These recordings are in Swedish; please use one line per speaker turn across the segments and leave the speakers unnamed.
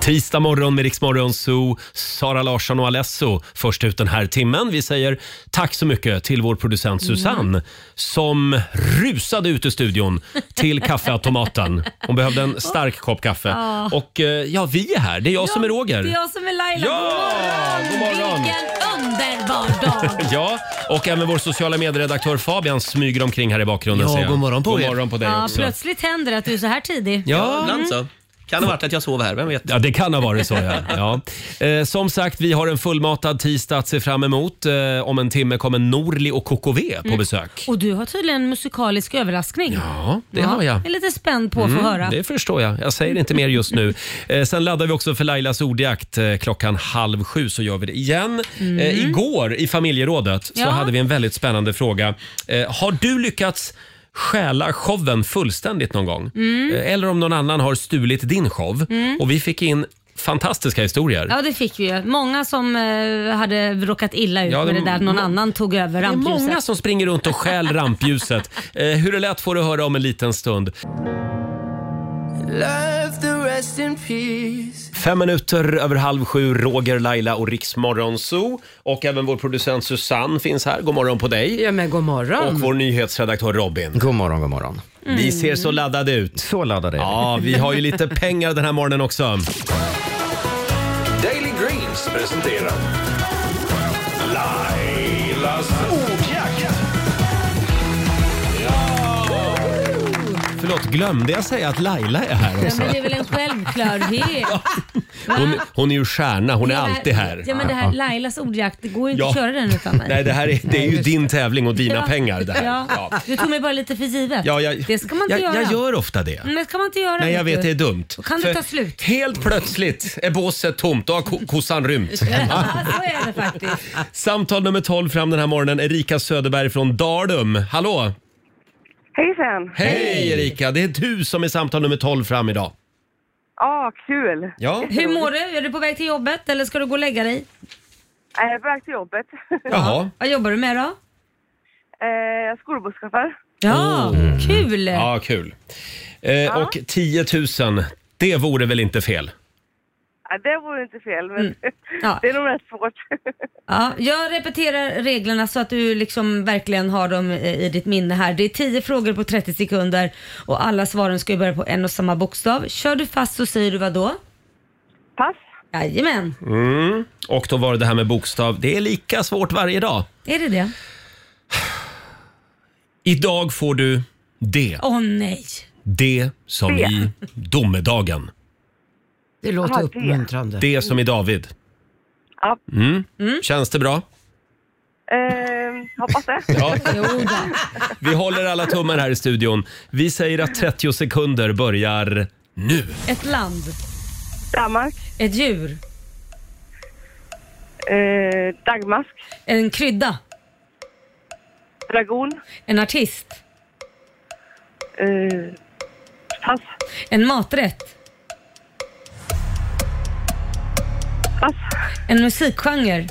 Tisdag morgon med Riksmorgon Zoo, Sara Larsson och Alesso först ut den här timmen. Vi säger tack så mycket till vår producent
Mm.
Susanne som rusade ut ur studion till kaffeautomaten. Hon behövde en stark kopp kaffe.
Ja.
Och eh, ja, vi är här. Det är jag som är Roger.
Det är jag som är Laila.
Ja, god morgon.
Vilken underbar dag!
Ja, och även vår sociala medieredaktör Fabian smyger omkring här i bakgrunden.
Ja,
ser jag.
god morgon på
god
er.
morgon på dig
Ja,
också.
plötsligt händer det att du är så här tidig.
Ja,
Ibland så. Kan ha varit att jag sov här, vem vet?
Ja, det kan ha varit så. Ja. Ja. Eh, som sagt, vi har en fullmatad tisdag att se fram emot. Eh, om en timme kommer Norli och KKV på besök.
Och du har tydligen en musikalisk överraskning.
Ja, det har jag. Mm,
är lite spänd på att få höra.
Det förstår jag. Jag säger inte mer just nu. Eh, sen laddar vi också för Lailas ordjakt. Eh, klockan halv sju så gör vi det igen. Eh, igår i familjerådet så
Ja.
hade vi en väldigt spännande fråga. Eh, har du lyckats stjäla showen fullständigt någon gång? Eh, Eller om någon annan har stulit din show? Och vi fick in fantastiska historier.
Ja, det fick vi ju. Många som eh, hade råkat illa ut
Ja, det-
med det där. Någon annan tog över
Det är
rampljuset.
många som springer runt och stjäl rampljuset. Eh, hur det lät får du höra om en liten stund. Fem minuter över halv sju, Roger, Laila och Riksmorgon Zoo. Och även vår producent Susanne finns här. God morgon på dig.
Ja men god
Och
morgon.
vår nyhetsredaktör Robin.
God morgon, god morgon.
Ni ser så laddade ut.
Så laddade jag.
Ja, vi har ju lite pengar den här morgonen också.
Daily Greens presenterar Lailas ordjakt.
Förlåt, glömde jag säga att Laila är här
Ja,
också?
men det är väl en självklarhet?
Hon, hon är ju stjärna, hon är
Det
alltid här.
Ja, men det här Lailas ordjakt, det går ju inte
Ja.
att köra den utan mig.
Nej, det här är, det är ju din tävling och dina
Ja.
pengar det här.
Ja. Du tog mig bara lite för givet.
Ja, jag,
det ska man inte
jag,
göra.
jag gör ofta det.
Men det ska man inte göra.
Nej, jag
vet
vet det
du.
är dumt.
Då kan det ta slut.
Helt plötsligt är båset tomt. Då har ko- kossan rymt.
Ja, så är det faktiskt.
Samtal nummer 12 fram den här morgonen. Erika Söderberg från Dalum. Hallå!
Hejsan!
Hej, Erika! Det är du som är samtal nummer 12 fram idag.
Ja, kul!
Ja.
Hur mår du? Är du på väg till jobbet eller ska du gå och lägga dig?
Jag är på väg till jobbet.
Jaha.
Vad jobbar du med då?
Eh, Jag är skolbusschaufför.
Ja, kul!
Ja, kul. Eh, och 10 000, det vore väl inte fel?
Ja, det vore inte fel, men
Mm.
Ja.
det är nog rätt svårt.
Ja, jag repeterar reglerna så att du liksom verkligen har dem eh, i ditt minne här. Det är 10 frågor på 30 sekunder och alla svaren ska ju börja på en och samma bokstav. Kör du fast så säger du vad då?
Pass.
Jajamän,
Och då var det det här med bokstav. Det är lika svårt varje dag.
är det det?
Idag får du det.
Åh nej!
Det som i domedagen.
Det låter
Aha, det.
uppmuntrande.
Det som i David. Mm.
Ja.
Känns det bra?
Eh, hoppas det.
Ja.
Jo då.
Vi håller alla tummar här i studion. Vi säger att 30 sekunder börjar nu.
Ett land,
Danmark.
ett djur,
Eh, dagmask.
en krydda,
Dragon.
en artist,
Eh, pass.
en maträtt,
Pass.
en musikgenre,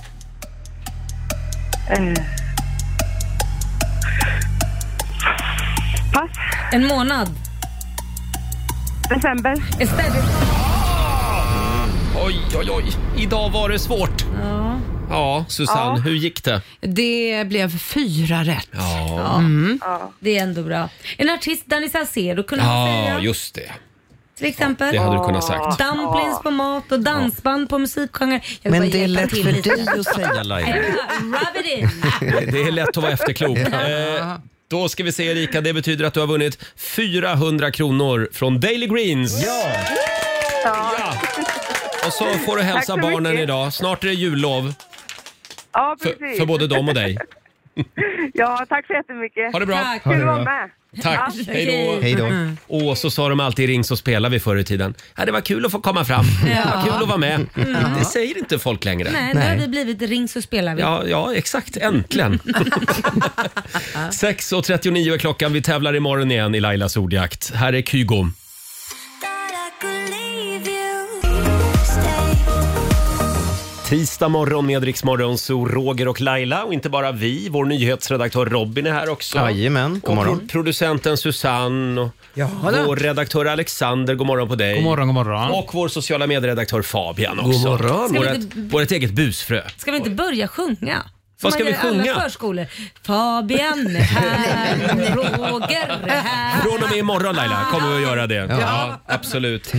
Eh. Pass.
en månad,
December.
ett ställe.
Oj, oj, oj. Idag var det svårt.
Ja.
Ja, Susanne, hur gick det?
Det blev fyra rätt.
Ja,
Det är ändå bra. En artist, Danny Saucedo kunde man
ja
säga.
just det.
Till exempel.
Det hade du kunnat sagt.
Dumplings på mat och dansband på musikgenre. Jag vill
Men
bara
det är
hjälpa
lätt
till
för
lite.
dig
att säga
Nej,
Laila.
Rub it in.
Det är lätt att vara efterklok. Eh, då ska vi se Erika, det betyder att du har vunnit 400 kronor från Daily Greens. Ja! ja. Och så får du hälsa
Tack så
barnen
mycket.
idag. Snart är det jullov
Ja,
för,
precis.
för både dem och dig.
Ja, tack så jättemycket.
Ha det bra!
Tack.
Kul att vara med.
Tack. Hej då.
Hej då.
Mm.
Och så sa de alltid i Ring så spelar vi förr i tiden. Ja, det var kul att få komma fram. Det var kul att vara med. Det säger inte folk längre.
Nej, nu har vi blivit ring så spelar vi.
Ja, ja, exakt. Äntligen. 6.39 är klockan. Vi tävlar imorgon igen i Lailas ordjakt. Här är Kygo. Tisdag morgon med Rix Morgon, så Roger och Laila och inte bara vi. Vår nyhetsredaktör Robin är här också.
Jajamän, god
och
morgon.
pro- producenten Susanne och
då.
vår redaktör Alexander, god morgon på dig.
God morgon, god morgon.
Och vår sociala medieredaktör Fabian också.
God morgon.
Ska vi
Vårt,
inte-
vårt eget busfrö.
Ska vi inte börja sjunga? Som
Vad ska
man
vi
gör i
sjunga?
Alla förskolor. Fabian är här, Roger är här.
Från och med imorgon Laila kommer vi att göra det. Ja, absolut.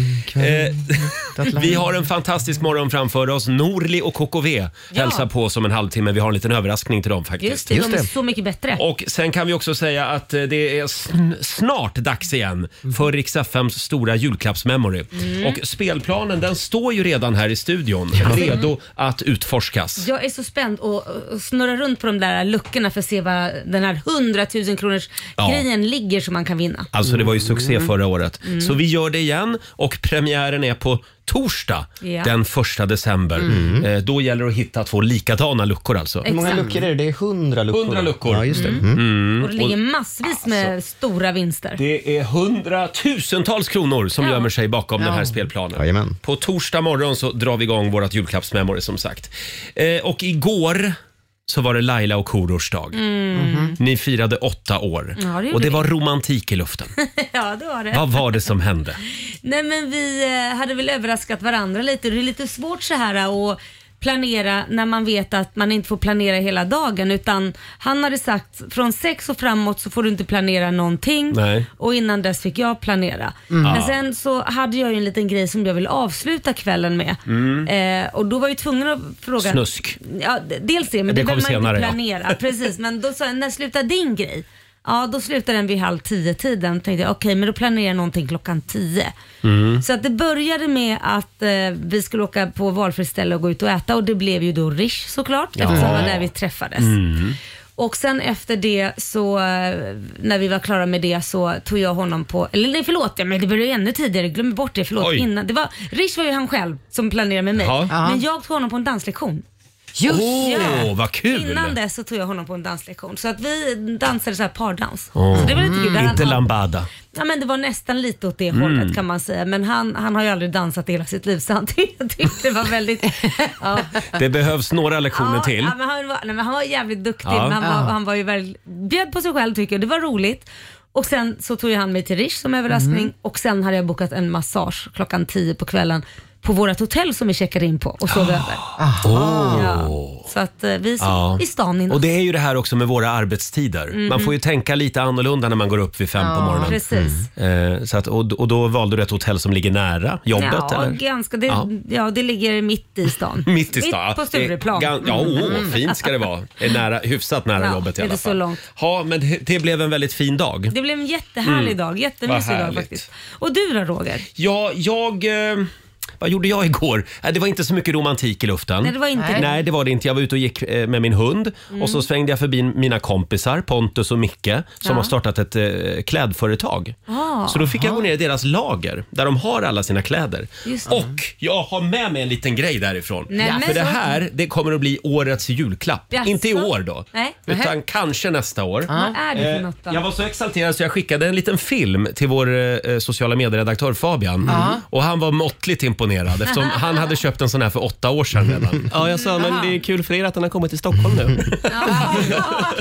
Eh, vi har en fantastisk morgon framför oss. Norli och KKV hälsar på oss om en halvtimme. Vi har en liten överraskning till dem faktiskt.
Just det, de är så mycket bättre.
Och sen kan vi också säga att eh, det är sn- snart dags igen
Mm.
för Rix FMs stora julklappsmemory. Och spelplanen den står ju redan här i studion, redo att utforskas.
Jag är så spänd och, och snurrar runt på de där luckorna för att se var den här 100 000 kronors
Ja.
grejen ligger som man kan vinna.
Alltså det var ju
Mm.
succé förra året. Så vi gör det igen och premiären är på torsdag
Ja. Mm.
den 1 december. Eh, Då gäller det att hitta två likadana luckor alltså.
Hur många luckor är det? Det är 100 luckor.
100 luckor.
Ja, just det.
Och det ligger massvis med stora vinster.
Det är hundratusentals kronor som
Ja.
gömmer sig bakom den här spelplanen.
Jajamän.
På torsdag morgon så drar vi igång vårt julklappsmemory som sagt. Eh, och igår så var det Laila och Korosh dag. Ni firade åtta år.
Mm. Ja, det gjorde
och det
vi.
var romantik i luften.
Ja, det var det.
Vad var det som hände?
Nej men vi eh, hade väl överraskat varandra lite. Det är lite svårt så här eh, att planera när man vet att man inte får planera hela dagen utan han hade sagt från sex och framåt så får du inte planera någonting
Nej.
och innan dess fick jag planera. Men sen så hade jag ju en liten grej som jag ville avsluta kvällen med eh, och då var jag ju tvungen att fråga.
Snusk.
Ja, d- dels det, men
Det
det,
kommer
behöver man
senare, ja.
inte planera. Precis, men då sa jag, när slutar din grej? Ja, då slutar den vid halv tio-tiden. tänkte jag, okej, men då planerar jag någonting klockan tio.
Mm.
Så att det började med att eh, vi skulle åka på valfritt ställe och gå ut och äta och det blev ju då Rish såklart, eftersom det var där vi träffades.
Mm.
Och sen efter det så, eh, när vi var klara med det så tog jag honom på, eller nej förlåt, ja, men det började ännu tidigare, glöm bort det, förlåt.
Oj.
Innan, det var, Rish var ju han själv som planerade med mig,
Ja.
Ja.
men jag tog honom på en danslektion.
Just
Åh,
ja.
vad kul!
Innan dess så tog jag honom på en danslektion. Så att vi dansade så här pardans.
Åh. Mm.
Så det var lite kul. Där han-
Inte Mm. lambada.
Ja, men det var nästan lite åt det hållet kan man säga. Men han, han har ju aldrig dansat i hela sitt liv så han tyckte tyckte det var väldigt... Ja.
Det behövs några lektioner
Ja,
till.
Ja, men han, var, nej, men han var jävligt duktig.
Ja.
Men han, var, han var ju väl, bjöd på sig själv tycker jag. Det var roligt. Och sen så tog ju han mig till Rish som överraskning
Mm.
och sen hade jag bokat en massage klockan 10 på kvällen på vårt hotell som vi checkade in på och sov
Ah.
över. Ja. Så att eh, vi sov
Oh. Ja.
i stan innan.
Och det är ju det här också med våra arbetstider. Man får ju tänka lite annorlunda när man går upp vid fem på morgonen.
Precis.
Eh, så att, och, och då valde du ett hotell som ligger nära jobbet?
Ja,
eller?
ganska. Det,
Ja.
ja. det ligger mitt i stan.
Mitt i stan.
Mitt på Stureplan. Mm.
Det är gan- Ja, åh, fint ska det vara. Är nära, hyfsat nära
Ja,
jobbet i
inte
alla
så
fall.
långt.
Ja, men det- det blev en väldigt fin dag.
Det blev en jättehärlig dag.
Mm. Vad
Jättemysig dag
härligt.
faktiskt. Och du då Roger?
Ja, jag... Eh, vad gjorde jag igår? Eh, Det var inte så mycket romantik i luften.
Nej, det var inte Mm.
Nej.
det.
det var det inte. Jag var ute och gick eh, med min hund och så svängde jag förbi mina kompisar Pontus och Micke som har startat ett eh, klädföretag.
Ah.
Så då fick jag gå ner i deras lager där de har alla sina kläder.
Just det.
Och jag har med mig en liten grej därifrån.
Nej, men-
För det här det kommer att bli årets julklapp.
Jaså?
Inte i år då,
Nej.
utan kanske nästa år.
Vad är det för något då?
Eh, Jag var så exalterad så jag skickade en liten film till vår eh, sociala medieredaktör Fabian. Och han var måttligt imponerad eftersom han hade köpt en sån här för åtta år sedan redan. Ja, jag sa men det är kul för er att den har kommit till Stockholm nu.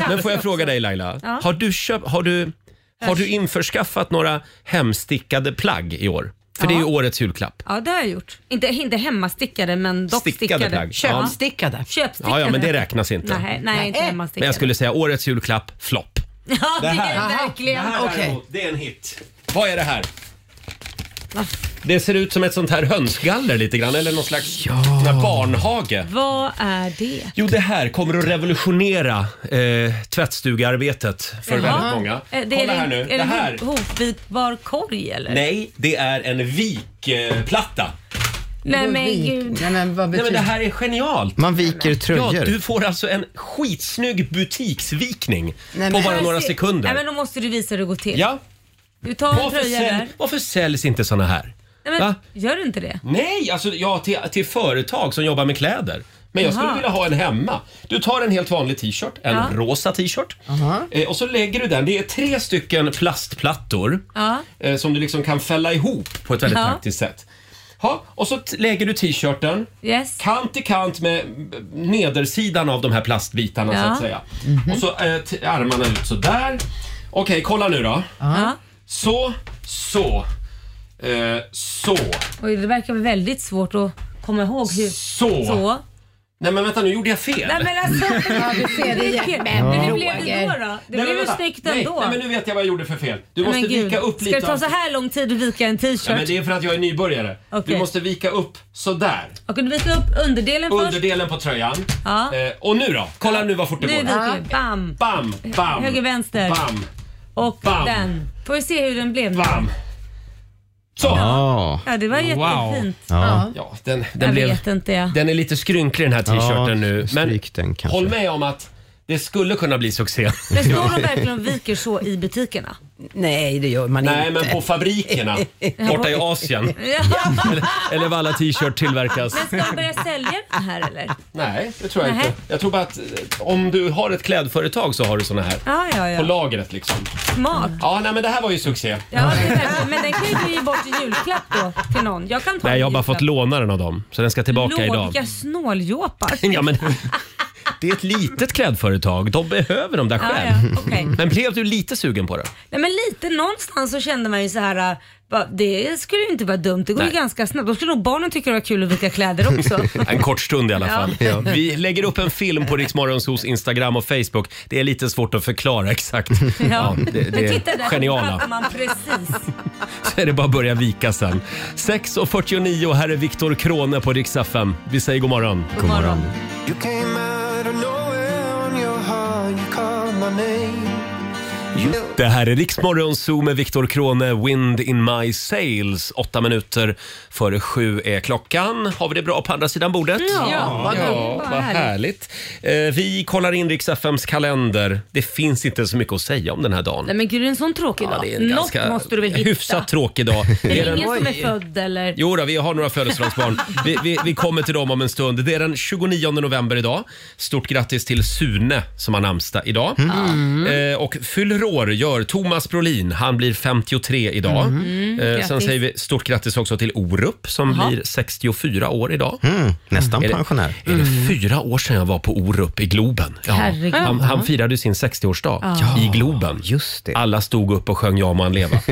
men får jag fråga dig Laila, har, du köpt, har, du, har du införskaffat några hemstickade plagg i år? För det är ju årets julklapp.
Ja, det har jag gjort. Inte, inte hemmastickade, men dock
Stickade
stickade.
plagg.
Ja.
Köpstickade.
Köpstickade.
Ja, ja, men det räknas inte.
Nej, nej, inte hemmastickade.
Men jag skulle säga årets julklapp, flopp.
Ja, det
här.
är det verkligen.
Okej.
däremot, det är en hit. Vad är det här?
Va?
Det ser ut som ett sånt här hönsgaller lite grann, eller någon slags sån här barnhage.
Vad är det?
Jo, det här kommer att revolutionera eh, tvättstugearbetet för väldigt många.
Eh, Det är,
Kolla här nu.
Är
Det
det
här.
en hopvitbar korg eller?
Nej, det är en vikplatta.
Nej men
Vik.
gud.
Nej, men vad
Nej,
betyder
men det här är genialt.
Man viker
Ja,
tröjor.
du får alltså en skitsnygg butiksvikning
Nej,
på
men-
bara några
Nej
sekunder.
men då måste du visa hur det går till.
Ja,
Du tar en
varför,
tröja
säl-
där.
varför säljs inte såna här?
Nej, men,
Va?
gör du inte det?
Nej, alltså ja, till, till företag som jobbar med kläder. Men jag skulle
Aha.
vilja ha en hemma. Du tar en helt vanlig t-shirt, en
Ja.
rosa t-shirt. Eh, och så lägger du den, det är tre stycken plastplattor
Ja.
eh, som du liksom kan fälla ihop på ett väldigt
Ja.
praktiskt sätt. Ha, och så t- lägger du t-shirten
Yes.
kant i kant med eh, nedersidan av de här plastbitarna så
Ja.
att säga. Och så eh, t- armarna ut så där. Okej, kolla nu då.
Ja.
Så, så, eh, så,
Oj, det verkar väldigt svårt att komma ihåg hur...
så,
Så.
Nej men vänta, nu gjorde jag fel.
Nej men alltså. Ja, du ser
det igen.
Men hur
Ja.
blev det då? då? Det
Nej,
blev
men
ju
vänta.
snyggt
nej,
ändå.
Nej men nu vet jag vad jag gjorde för fel. Du måste
Men gud,
vika upp
Ska
lite.
det ta
av-
så här lång tid att vika en t-shirt?
Ja, men det är för att jag är nybörjare.
Okej.
Du måste vika upp sådär.
Och du vika upp underdelen först.
Underdelen på tröjan.
Ja.
Eh, och nu då? Kolla nu vad fort det
Nu
går.
viker vi. Bam!
Bam, bam,
Höger, vänster.
bam,
Och
Bam.
den. Får vi se hur den blev.
bam. Så!
Ja.
Ja, det var jättefint.
ja.
Ja, den,
Jag
den, blev,
vet inte jag.
den är lite skrynklig den här t-shirten
Ja,
nu. Men
stryk den kanske.
håll med om att det skulle kunna bli succé.
Men står de verkligen och viker så i butikerna?
Nej, det gör man
Nej,
inte.
men på fabrikerna borta i Asien.
Ja.
Eller, eller vad alla t-shirt tillverkas.
Men ska de börja sälja den här eller?
Nej, det tror jag
Nähä.
inte. Jag tror bara att eh, om du har ett klädföretag så har du såna här.
Ja, ja,
På
ja.
lagret liksom.
Smart.
Ja, nej men det här var ju succé.
Ja, det är verkligen. Men den kan ju du ge bort i julklapp då till någon. Jag kan ta
Nej,
en
jag har bara
julklapp.
fått låna den av dem. Så den ska tillbaka
Låga
idag.
snåljåpar.
Ja, men, det är ett litet klädföretag. De behöver dem där
Ja,
själv.
ja, okej.
Men blev du lite sugen på det?
Nej men lite någonstans så kände man ju så här. äh, va, Det skulle ju inte vara dumt, det går
Nej.
ju ganska snabbt. Då skulle nog barnen tycka det var kul att vika kläder också.
En kort stund i alla fall. Vi lägger upp en film på Riksmorgonsos Instagram och Facebook. Det är lite svårt att förklara exakt. Ja, det, det
men titta
är
där,
geniala.
fattar man precis.
Så är det bara att börja vika sen. 6.49, här är Viktor Krone på Rix FM. Vi säger god morgon.
God morgon.
You came out of nowhere on your heart, you called my name. You
Det här är Riksmorgon Zoo med Viktor Krone, Wind in my sails. Åtta minuter före sju är klockan. Har vi det bra på andra sidan bordet?
Ja, vad bra.
Ja, vad
Vad
härligt.
härligt.
Eh, Vi kollar in Rix FMs kalender. Det finns inte så mycket att säga om den här dagen.
Nej men gud det är en sån tråkig
Ja,
dag.
det är en
Något
ganska
måste du väl hitta?
hyfsat tråkig dag.
Det
Det
är
är den-
ingen som är född eller?
Jo då, vi har några födelsedagsbarn. Vi, vi, vi kommer till dem om en stund. Det är den 29 november idag. Stort grattis till Sune som har namnsdag idag. Eh, och fyller år gör Thomas Brolin. Han blir 53 idag. eh, sen
grattis.
säger vi stort grattis också till Orup som blir 64 år idag.
Mm, nästan
Är det,
pensionär.
är det fyra år sedan jag var på Orup i Globen? Ja.
Mm. Herregud.
Han, han firade ju sin 60-årsdag i Globen.
Just det.
Alla stod upp och sjöng Ja må han leva. eh,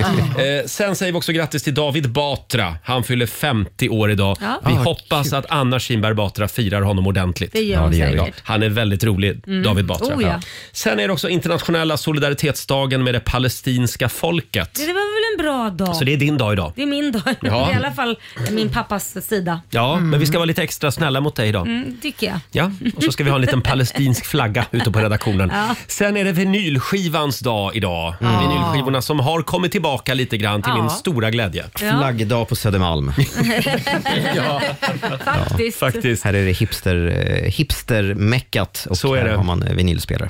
sen säger vi också grattis till David Batra. Han fyller 50 år idag. Vi hoppas att Anna Kinberg Batra firar honom ordentligt.
Ah, Det gör Ja, hon det gör vi. säkert.
Han är väldigt rolig, David Batra.
Oh, ja.
Sen är det också internationella solidaritetsdagen med det palestinska folket.
Det var väl en bra dag?
Så Alltså, det är din dag idag.
Det är min dag.
Ja.
I alla fall min pappas sida.
Ja, men vi ska vara lite extra snälla mot dig idag.
Mm, Tycker jag.
Ja, och så ska vi ha en liten palestinsk flagga ute på redaktionen.
Ja.
Sen är det vinylskivans dag idag. Vinylskivorna som har kommit tillbaka lite grann till
Ja.
min stora glädje.
Flaggdag på Södermalm.
Faktiskt.
Faktiskt.
Här är det hipster, eh, hipstermeckat och
Så är
här
det. Mm.
har man eh, vinylspelare.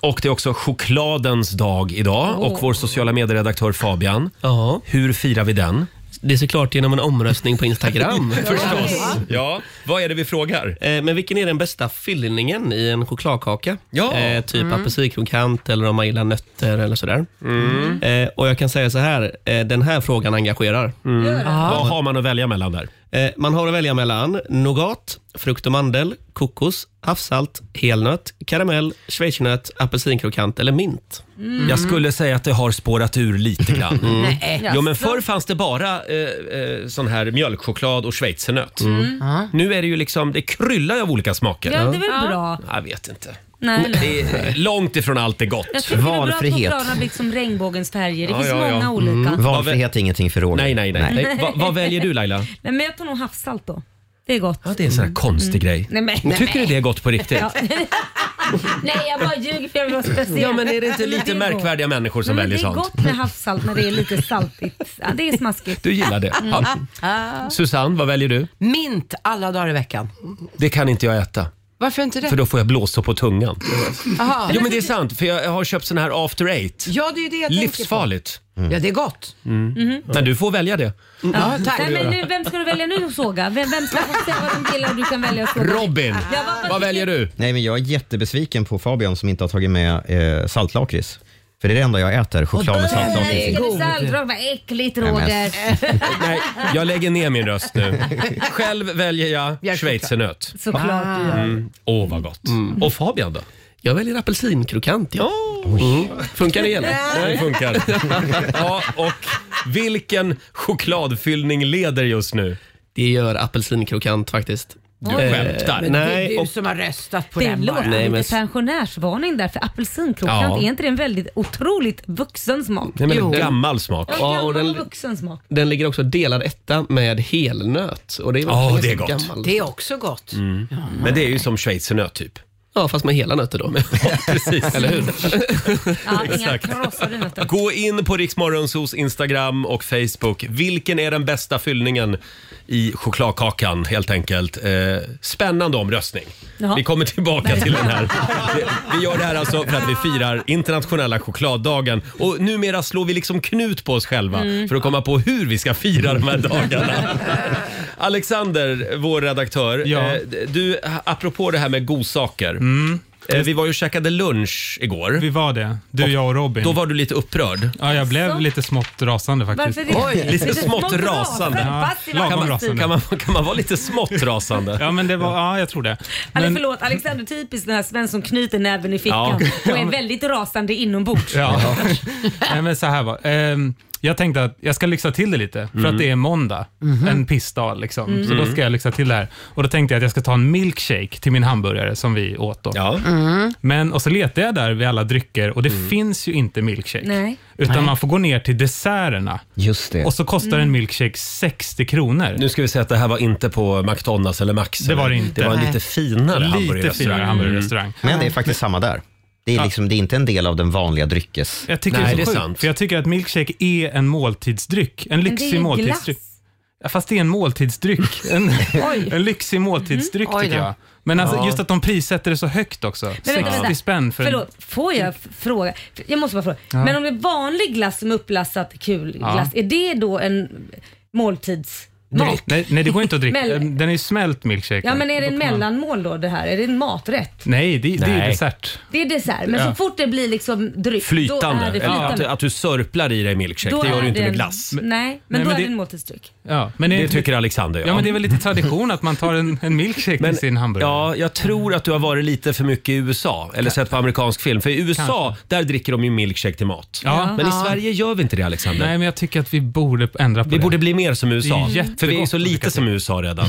Och det är också chokladens dag idag och vår sociala medieredaktör Fabian.
Ja,
Hur firar vi den?
det är såklart genom en omröstning på Instagram.
Förstås. Ja, vad är det vi frågar?
Eh, Men vilken är den bästa fyllningen i en chokladkaka?
Ja.
Eh, typ apelsinkrokant eller om man gillar nötter eller sådär. Eh, och jag kan säga så här, eh, den här frågan engagerar.
Vad har man att välja mellan där?
Eh, man har att välja mellan nougat, frukt och mandel, kokos, havssalt, helnöt, karamell, schweizernöt, apelsinkrokant eller mint.
Jag skulle säga att det har spårat ur lite grann.
Nej.
Jo, men förr fanns det bara eh, eh, sån här mjölkchoklad och schweizernöt. Nu är det ju liksom, det kryllar ju av olika smaker.
Mm. Ja, det är väl bra.
Jag vet inte.
Nej, nej.
Det är långt ifrån allt är gott.
Jag tycker det är bra att
Valfrihet.
chokladen har blivit som liksom regnbågens färger. Det
Ja,
finns
ja, Mm. ja.
många olika.
Valfrihet är ingenting för Roger.
Nej, nej, nej. nej. Va, vad väljer du Laila?
Nej, men jag tar nog havssalt då. Det är gott.
Ja, det är en sån här konstig grej.
Mm. Nej, men,
Men Tycker du det är gott på riktigt?
Ja. Nej, jag bara ljuger för jag vill vara speciell.
Ja, men är det inte
Men
lite
är
märkvärdiga människor
gott.
som
Nej, men
väljer
Det är
sånt?
gott med havssalt när det är lite saltigt. Ja, det är smaskigt.
Du gillar
Mm.
det? Ja.
Ah,
Susanne, vad väljer du?
Mint alla dagar i veckan.
Det kan inte jag äta.
Varför inte det?
För då får jag blåsor på tungan.
Aha.
Jo men det är sant, för jag har köpt sån här after eight.
Ja, det är ju det jag
Livsfarligt.
tänker på. Ja, det är gott.
Men du får välja det.
Ja, tack.
Nej, men nu, vem ska du välja nu att såga? Vem, vem ska få säga vad de gillar och du kan välja att såga?
Robin,
Ja, vad-
vad väljer du?
Nej, men jag är jättebesviken på Fabian som inte har tagit med eh, saltlakrits. För det är det enda jag äter, choklad med saltlake.
Älskade sallrad, vad äckligt
men-
Roger.
Nej, jag lägger ner min röst nu. Själv väljer jag
Björkchoklad.
schweizernöt.
Såklart du
Ah.
gör.
Åh, vad gott. Och Fabian då?
Jag väljer apelsinkrokant. Ja. Mm. Funkar det igen?
Det funkar. Ja, och vilken chokladfyllning leder just nu?
Det gör apelsinkrokant faktiskt.
Du skämtar.
Men
Nej,
det är du
och-
som har röstat på
Det
den bara.
låter
Nej, men-
lite pensionärsvarning där för apelsinkrokant,
Ja.
är inte det en väldigt otroligt vuxen smak?
Nej, men
Jo.
gammal smak.
Ja,
och
och
den-
den... vuxen smak.
Den ligger också delad etta med helnöt. Och det är
Ja,
också
det är
ganska
gott.
gammal.
Det är också gott.
Mm.
Men det är ju som schweizernöt typ.
Ja, fast med hela nötter då.
Precis. Eller hur?
Ja, inga
Exakt.
krossade nötter.
Gå in på Riksmorgonsos Instagram och Facebook. Vilken är den bästa fyllningen i chokladkakan helt enkelt? Eh, spännande omröstning.
Jaha.
Vi kommer tillbaka till den här. Vi, vi gör det här alltså för att vi firar internationella chokladdagen och numera slår vi liksom knut på oss själva för att komma på hur vi ska fira de här dagarna. Alexander, vår redaktör,
Ja. Mm.
eh, du, apropå det här med godsaker. Eh, vi var ju och käkade lunch igår.
Vi var det, du, jag och Robin.
Då var Alltså? du lite upprörd.
Ja, jag blev
Så.
lite smått rasande faktiskt.
Varför det?
Oj, lite smått rasande.
Ja, lagom
Kan man,
rasande.
kan, man, kan man vara lite smått rasande?
Ja, men det var, ja, jag tror det.
Men...
Men-
Alltså, Förlåt, Alexander typiskt den här Svensson knyter näven i
Ja.
fickan och är väldigt rasande inombords.
Ja. Nej, men så här var ehm, Jag tänkte att jag ska lyxa till det lite, för
Mm.
att det är måndag,
Mhm.
en pissdag. Liksom. Så då ska jag lyxa till det här. Och då tänkte jag att jag ska ta en milkshake till min hamburgare som vi åt. Då.
Ja.
Mm.
Mm.
Men, och så letade jag där vid alla drycker och det finns ju inte milkshake.
Nej. Mm.
Utan man får gå ner till desserterna.
Just det.
Och så kostar en milkshake 60 kronor.
Nu ska vi säga att det här var inte på McDonalds eller Max.
Det var det inte.
Det var en
Nej.
lite finare Mm.
Lite finare
hamburgerrestaurang.
hamburgerrestaurang.
Men det är faktiskt samma där. Det är, liksom, det är inte en del av den vanliga dryckes...
Jag tycker
Nej,
det
det
är
är
så sjukt,
sant.
för jag tycker att milkshake är en måltidsdryck. En
Men det är
lyxig
ju glass.
måltidsdryck. Ja, Fast det är en måltidsdryck. En, en lyxig måltidsdryck
Oj
tycker
då.
jag. Men alltså, just att de prissätter det så högt också.
Mm. Men
60
vänta, vänta.
spänn för en...
Förlåt, får jag f- fråga? Jag måste bara fråga. Men om det är vanlig glass som är upplassat kulglass, är det då en måltids...
Dryck. Nej, nej, det går inte att dricka.
Mell-
Den är ju smält milkshake.
Ja men är det
Då
en
kan man-
mellanmål då det här? Är det en maträtt?
Nej, det, det är
Nej.
ju dessert.
Det är dessert, men så
Ja.
fort det blir liksom dryck, då
Flytande.
är det
Eller att,
flytande.
att du sörplar i dig milkshake.
Då
det gör
är
du inte med
en-
glass.
Nej, men
Nej,
då
men
är det
det-
en måltidsdryck.
Ja, men
Det tycker Alexander, ja.
Ja, men det är väl lite tradition att man tar en, en milkshake
Men-
till sin hamburgare.
Ja, jag tror att du har varit lite för mycket i USA eller sett på amerikansk film. För i USA, där dricker de ju milkshake till mat.
Ja.
Men i Sverige gör vi inte det Alexander.
Nej, men jag tycker att vi borde ändra på
Vi
det.
borde bli mer som USA.
Det är jättegott
För vi är ju så
att dricka
lite
till.
som USA redan.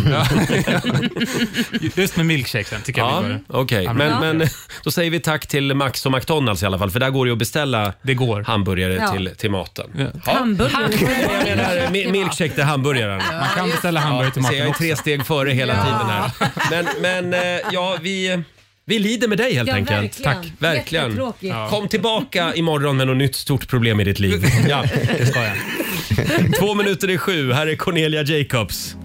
Just med milkshakesen tycker jag
Ja,
vi borde.
okej.
Ja,
Men,
men-
men då säger vi tack till Max och McDonalds i alla fall, för där går det ju att beställa
Det går.
hamburgare
Ja.
till, till maten.
Ja.
Hamburgare.
Jag menar eh, mi- milkshake till hamburgaren.
Man kan beställa hamburgare till
Jag ser,
maten
jag är
också.
tre steg före hela tiden här. Men, men eh, ja, vi, vi lider med dig helt
Ja,
enkelt.
verkligen.
Tack. Verkligen.
Jättetråkigt. Ja.
Kom tillbaka imorgon med något nytt stort problem i ditt liv. Ja, det ska jag. Två minuter i sju. Här är Cornelia Jacobs.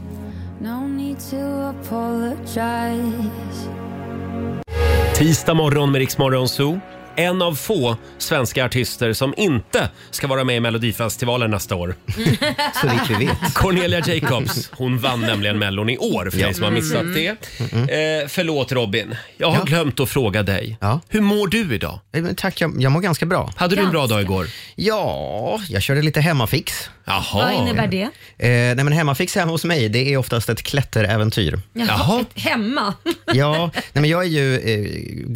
Tisdag morgon med Riksmorgon Zoo. En av få svenska artister som inte ska vara med i Melodifestivalen nästa år.
Så vitt vi vet.
Cornelia Jacobs, hon vann nämligen Mellon i år för dig som har missat det. Eh, förlåt Robin, jag har
Mm, Ja.
glömt att fråga dig.
Ja.
Hur mår du idag?
Nej, men Tack, jag, jag mår ganska bra.
Hade du en bra dag igår?
Ja, jag körde lite hemmafix.
Vad
Jaha.
innebär det?
Eh, nej, men hemmafix hemma hos mig, det är oftast ett klätteräventyr.
Jaha.
Ett hemma?
Ja, nej, men jag är ju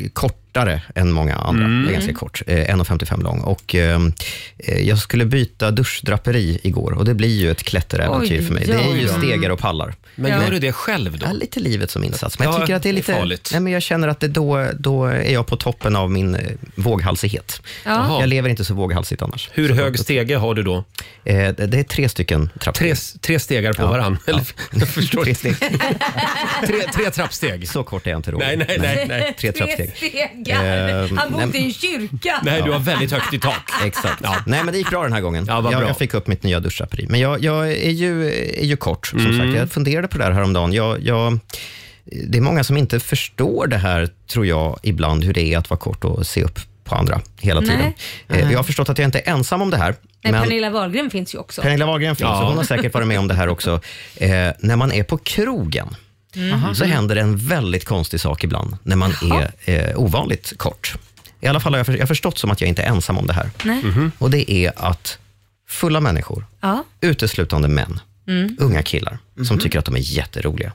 eh, kortare än många andra.
Mm.
Jag är ganska kort, eh, 1,55 lång. Och, eh, eh, jag skulle byta duschdraperi igår och det blir ju ett klätteräventyr
Oj,
för mig. Det är ju
ja.
stegar och pallar.
Men
Ja.
gör du det själv då?
Ja, lite livet som insats. Men
Ja,
jag tycker att det är
det är
lite...
farligt.
nej, men jag känner att det då, då är jag på toppen av min eh, våghalsighet.
Ja.
Jag lever inte så våghalsigt annars.
Hur hög stege har du då?
Eh, det det är tre stycken trappor.
Tre, tre stegar på varann? Eller, jag förstår
Tre
inte.
steg.
Tre, tre trappsteg?
Så kort är jag inte Roger.
Nej, nej, nej, nej.
Tre
Tre trappsteg.
stegar.
Ehm,
Han
nej,
bodde
men-
i en kyrka.
Nej, du har väldigt högt i tak.
Exakt. Nej, men det gick bra den här gången.
Ja, vad
jag,
bra.
jag fick upp mitt nya duschdraperi. Men jag, jag är, ju, är ju kort, som
Mm.
sagt. Jag funderade på det här häromdagen. Jag, jag, det är många som inte förstår det här, tror jag, ibland, hur det är att vara kort och se upp på andra hela
Nej.
tiden. Eh, Jag har förstått att jag inte är ensam om det här.
Nej,
men-
Pernilla Wahlgren finns ju också.
Pernilla Wahlgren finns, och hon har säkert varit med om det här också. Eh, när man är på krogen så händer det en väldigt konstig sak ibland när man är eh, ovanligt kort. I alla fall har jag, för, jag har förstått som att jag inte är ensam om det här.
Nej.
Och det är att fulla människor,
Ja.
uteslutande män, unga killar, som tycker att de är jätteroliga,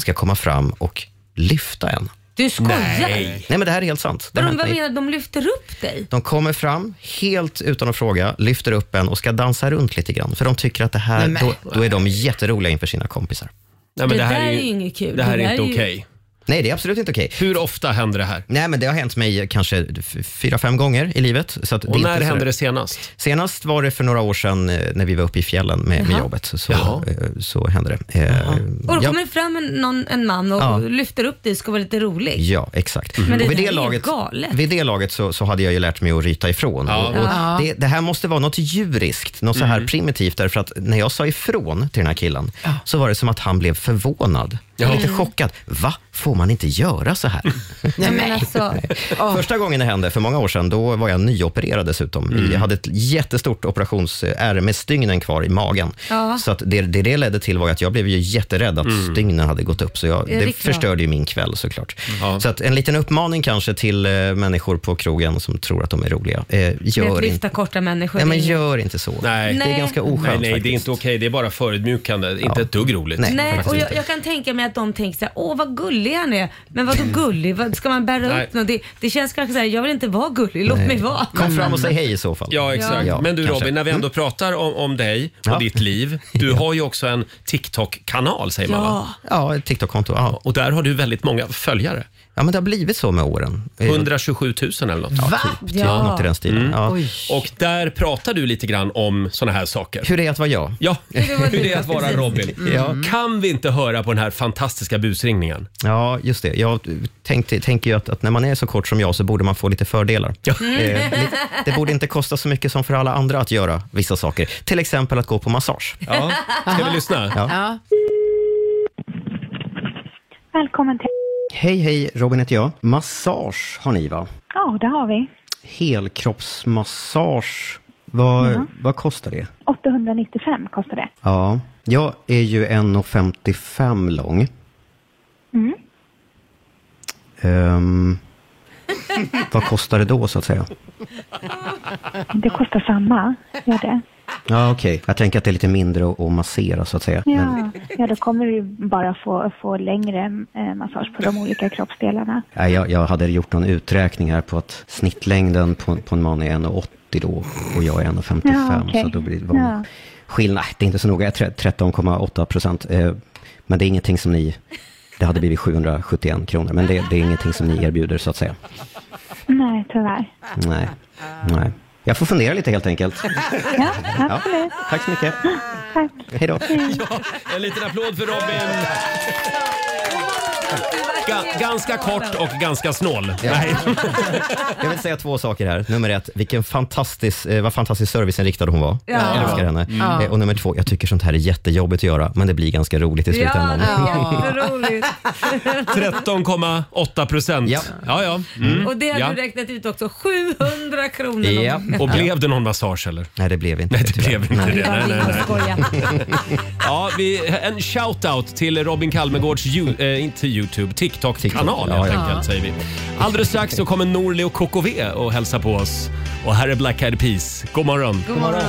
ska komma fram och lyfta en.
Du skojar?
Nej, men det här är helt sant. Det
Vadå,
har hänt
vad
mig.
menar du? De lyfter upp dig?
De kommer fram helt utan att fråga, lyfter upp en och ska dansa runt lite grann. För de tycker att det här,
Nej, men-
då, då är de jätteroliga inför sina kompisar.
Nej, men
Det
det, här
där
är
är ju inget kul.
Det här
Det
är
där
inte
är ju-
okej.
Nej, det är absolut inte okej.
Hur ofta händer det här?
Nej, men det har hänt mig kanske f- fyra, fem gånger i livet. Så att
Och
inte
när
sådär-
hände det senast?
Senast var det för några år sedan eh, när vi var uppe i fjällen med, med jobbet. Så,
Jaha.
eh, så hände det. Eh,
Och då
ja,
kommer det fram en, någon, en man och
Ja.
lyfter upp dig och ska vara lite rolig.
ja, exakt.
Men det
Och vid,
där är
det
ju
laget,
galet.
vid det laget så, så hade jag ju lärt mig att ryta ifrån. Och, och det, det här måste vara något djuriskt, något så här primitivt. Därför att när jag sa ifrån till den här killen så var det som att han blev förvånad. Lite chockad. Va? Får man inte göra så här?
Nej, men alltså,
Första gången det hände, för många år sedan, då var jag nyopererad dessutom.
Mm.
Jag hade ett jättestort operationsärr med stygnen kvar i magen.
Ja.
Så att det, det det ledde till var ju att jag blev ju jätterädd att
Mm.
stygnen hade gått upp. Så jag,
Ja, det är
det
klart.
förstörde ju min kväll såklart. Så att en liten uppmaning kanske till eh, människor på krogen som tror att de är roliga. Eh,
att
gör,
lyfta
inte,
korta människor.
nej, men
det är-
gör inte så.
Nej.
Det
Nej.
är ganska oskönt
Nej, nej,
faktiskt.
det är inte okej. Det är bara förödmjukande. Inte ett dugg roligt.
Nej.
Nej,
faktiskt
och jag,
inte.
jag kan tänka mig att de tänker så här, åh vad gullig han är. Men vadå gullig? Vad, ska man bära
Nej.
upp något? Det, det känns kanske så här, jag vill inte vara gullig, låt mig vara.
Kom fram och säg hej i så fall.
Mm. Ja, exakt.
Ja,
Men du
kanske. Mm.
Robin, när vi ändå pratar om, om dig och
Ja.
ditt liv. Du har ju också en TikTok-kanal säger man va?
Ja,
Ja, ett TikTok-konto. Ja.
Och där har du väldigt många följare.
ja, men det har blivit så med åren. Eh,
127 000 eller något.
Va? Typ,
Ja.
Något i den stilen.
Mm.
Ja.
Och där pratar du lite grann om såna här saker.
Hur är det att vara jag?
Ja,
det var
hur det
du,
är att vara
precis. Mm.
Robin. Kan vi inte höra på den här fantastiska busringningen?
Ja, just det. Jag tänkte, tänker ju att, att när man är så kort som jag så borde man få lite fördelar.
Ja.
Eh, lite, det borde inte kosta så mycket som för alla andra att göra vissa saker. Till exempel att gå på massage.
Ja. Ska vi lyssna?
Ja.
Välkommen till...
Hej, hej. Robin heter jag. Massage har ni, va?
Ja, det har vi.
Helkroppsmassage. Vad, vad kostar det?
895 kostar det.
Ja, jag är ju 1,55 lång. Ehm, vad kostar det då, så att säga?
Det kostar samma. Gör det.
Ja, okej. Jag tänker att det är lite mindre att- att massera, så att säga. Men-
Ja, ja då kommer du bara få, få längre eh, massage på de olika kroppsdelarna.
Nej, jag, jag hade gjort någon uträkning här på att snittlängden på, på en man är 1,80 då och jag är 1,55.
Ja, okej.
Så då blir det var en
Ja.
skillnad. Nej, Det är inte så noga, jag är tre- 13,8 procent. Eh, men det är ingenting som ni... Det hade blivit 771 kronor, men det, det är ingenting som ni erbjuder så att säga.
Nej, tyvärr.
Nej. Nej. Jag får fundera lite helt enkelt.
Ja, absolut.
Tack så mycket.
Tack.
Hej då.
En liten applåd för Robin. Ga- ganska kort och ganska snål. Nej.
Jag vill säga två saker här. Nummer ett, vilken fantastisk, eh, vad fantastisk serviceinriktad hon var.
Ja.
Jag älskar henne. Eh, och nummer två, jag tycker sånt här är jättejobbigt att göra, men det blir ganska roligt i
Ja,
slutändan.
det är jätteroligt.
13,8 procent.
Ja.
ja. ja. Mm.
Och det har
Ja.
du räknat ut också, 700 kronor.
Ja.
Och blev det någon massage eller?
Nej, det blev inte
Nej, det blev inte det. Nej,
Jag
nej, nej.
skojar.
Ja, vi, en shout-out till Robin Kalmegårds, ju, eh, inte Youtube, TikTok-kanal helt enkelt säger vi. Alldeles strax så kommer Norli och KKV och hälsa på oss. Och här är Black Eyed Peas. God morgon.
God morgon.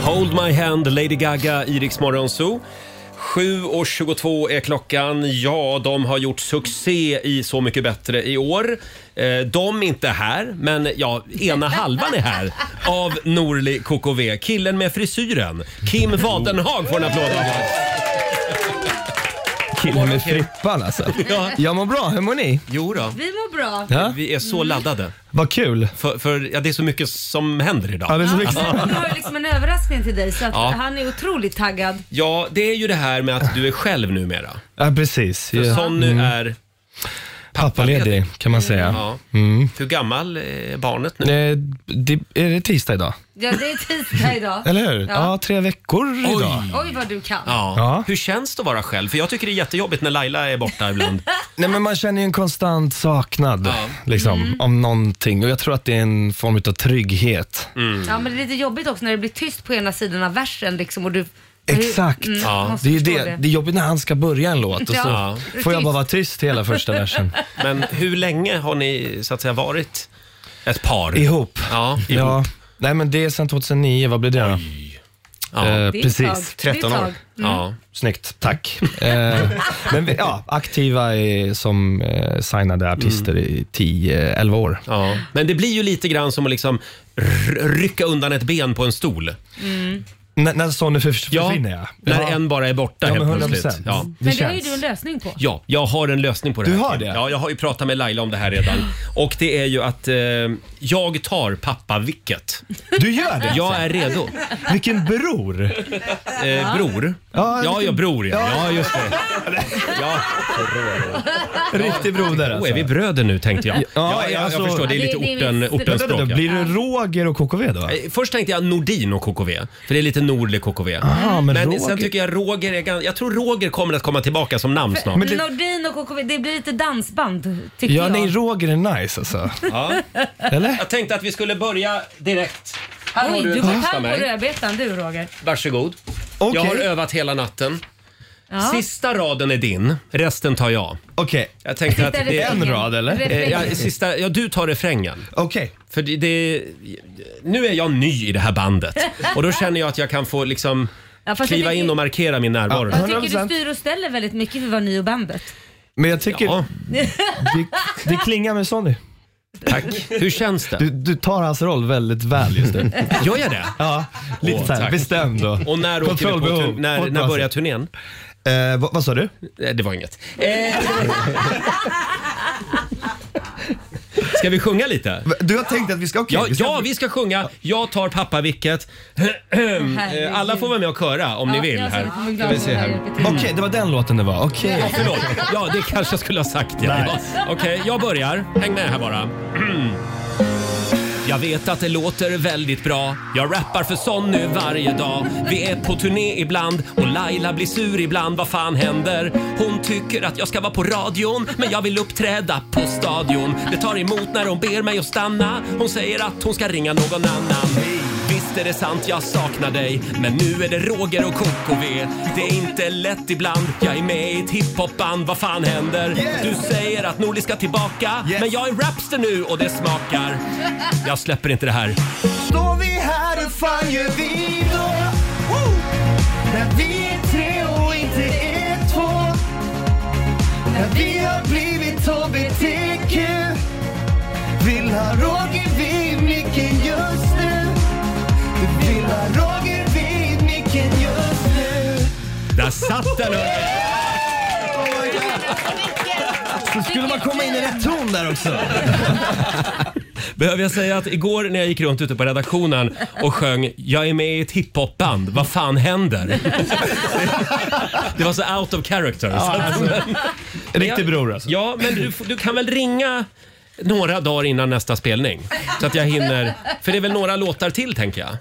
Hold My Hand, Lady Gaga, i Rix Morgon Zoo. 7.22 är klockan. Ja, de har gjort succé i Så mycket bättre i år. Eh, De är inte här, men ja, ena halvan är här av Norli KKV. Killen med frisyren, Kim Wadenhag får en applåd av oss.
Killen med frippan alltså.
Ja.
Jag mår bra, hur mår ni?
Jo då.
Vi mår bra.
Ja?
Vi är så laddade.
Vad kul.
För, för ja, det är så mycket som händer
Ja,
idag.
det är så mycket.
Vi har ju liksom en överraskning till dig så att
Ja.
han är otroligt taggad.
Ja, det är ju det här med att du är själv numera.
Ja, precis.
För
Ja.
Sonny är...
Pappaledig kan man
Mm.
säga.
Ja. Hur gammal är barnet nu?
Eh, det, är det tisdag idag?
Ja, det är tisdag idag.
Eller hur?
Ja.
Ja, tre veckor idag.
Oj vad du kan.
Ja.
Ja.
Hur känns det att vara själv? För jag tycker det är jättejobbigt när Laila är borta ibland.
Nej, men man känner ju en konstant saknad
Ja.
liksom,
Mm.
av någonting och jag tror att det är en form av trygghet.
Ja men det är lite jobbigt också när det blir tyst på ena sidan av versen liksom, och du
Exakt.
Mm, Ja. måste
Det är ju
förstå
det.
det.
Det är jobbigt när han ska börja en låt och så
Ja.
får jag bara vara tyst hela första versen.
Men hur länge har ni så att säga varit ett par?
Ihop.
Ja, ihop.
Ja. Nej, men det är sedan 2009. Vad blir det då?
Ja.
Eh,
Det är ett tag.
precis.
Det är ett
13 år.
tag. Mm.
Ja.
Snyggt, tack. eh, men vi- ja, aktiva i, som eh, signade artister
Mm.
i 10-11 år.
Ja. Men det blir ju lite grann som att liksom r- rycka undan ett ben på en stol.
N- när Sonny för, försvinner, ja.
När en bara är borta
Ja, men
helt
100%.
plötsligt. Ja.
Det
Men det har ju
känns.
du en lösning på.
Ja, jag har en lösning på det
Du
här.
har
Kim.
det?
Ja, jag har ju pratat med Laila om det här redan. Och det är ju att eh, jag tar pappavicket.
Du gör det?
Jag är redo.
Vilken bror!
Eh, bror?
Ja,
Ja,
vilken-
ja, bror ja.
Ja.
Ja, just det. Ja.
Riktig broder
Då
alltså.
är vi bröder nu tänkte jag. Ja,
Ja,
ja, jag,
alltså-
jag förstår. Det är
Ja,
lite
det- det är
orten,
visst.
ortens
Vänta,
språk.
då,
ja.
blir det Roger och KKV då?
Eh, Först tänkte jag Nordin och KKV, för det är lite nordlig KKV.
Ah, men
Men
Roger-
sen tycker jag Roger är ganska, Jag tror Roger kommer att komma tillbaka som namn snart.
Men det-
Nordin och KKV, det blir lite dansband tycker
Ja,
jag.
nej, Roger är nice alltså. Eller?
Jag tänkte att vi skulle börja direkt. Här har
Oj,
du
du
en
går
testa
pang på
mig.
rödbetan du Roger.
Varsågod.
Okej.
Jag har övat hela natten.
Ja.
Sista raden är din, resten tar jag.
Okej.
Jag tänkte att
Titta,
det
En
refrängen.
rad, eller?
eh,
Refrängen.
ja, sista, ja, du tar refrängen.
Okej.
För det, det, nu är jag ny i det här bandet och då känner jag att jag kan få liksom
Ja, fast jag
kliva
tycker-
in och markera min närvaro.
Ja.
Jag tycker du
100%.
styr och ställer väldigt mycket för att vara ny i bandet.
Men jag tycker
Ja,
det, det klingar med Sonny.
tack. Hur känns det?
Du, du tar hans roll väldigt väl just nu.
Gör jag det?
Ja, lite
Åh,
så här
tack.
bestämd och
Och när, åker vi på
kontrollbehov.
turn-
På
när,
ett
när
bra
börjar
sätt.
turnén?
Eh, vad, vad sa du?
Eh, Det var inget. Eh. Ska vi sjunga lite?
Du har tänkt att vi ska... Okej.
Ja,
vi ska-
ja, vi ska sjunga Jag tar pappavicket.
Herregud.
Alla får vara med och köra om ni vill.
jag
här.
ser- jag är glad
se här.
att jag hjälper till.
Okej, det var den låten det var. Okej.
Ja, förlåt. Ja, det kanske jag skulle ha sagt. Ja.
Nej.
Ja. Okej, jag börjar. Häng med här bara. Jag vet att det låter väldigt bra. Jag rappar för Sonny varje dag. Vi är på turné ibland och Laila blir sur ibland. Vad fan händer? Hon tycker att jag ska vara på radion men jag vill uppträda på stadion. Det tar emot när hon ber mig att stanna. Hon säger att hon ska ringa någon annan. Visst är det sant, jag saknar dig. Men nu är det Roger och KKV. Det är inte lätt ibland. Jag är med i ett hiphopband. Vad fan händer? Du säger att Norli ska tillbaka. Men jag är rapster nu och det smakar. Jag släpper inte det här.
Står vi här hur fan gör vi då? Woo! När vi är tre och inte är två. När vi har blivit HBTQ. Vill ha Roger vid micken just nu. Du vill ha Roger vid micken just nu.
Där satt den! hörni.
Så skulle man komma in i rätt ton där också.
Behöver jag säga att igår när jag gick runt ute på redaktionen och sjöng “Jag är med i ett hiphopband, vad fan händer?” Det var så out of character. Så att-
alltså, Riktig bror alltså.
Ja, men du, du kan väl ringa några dagar innan nästa spelning? Så att jag hinner. För det är väl några låtar till tänker jag.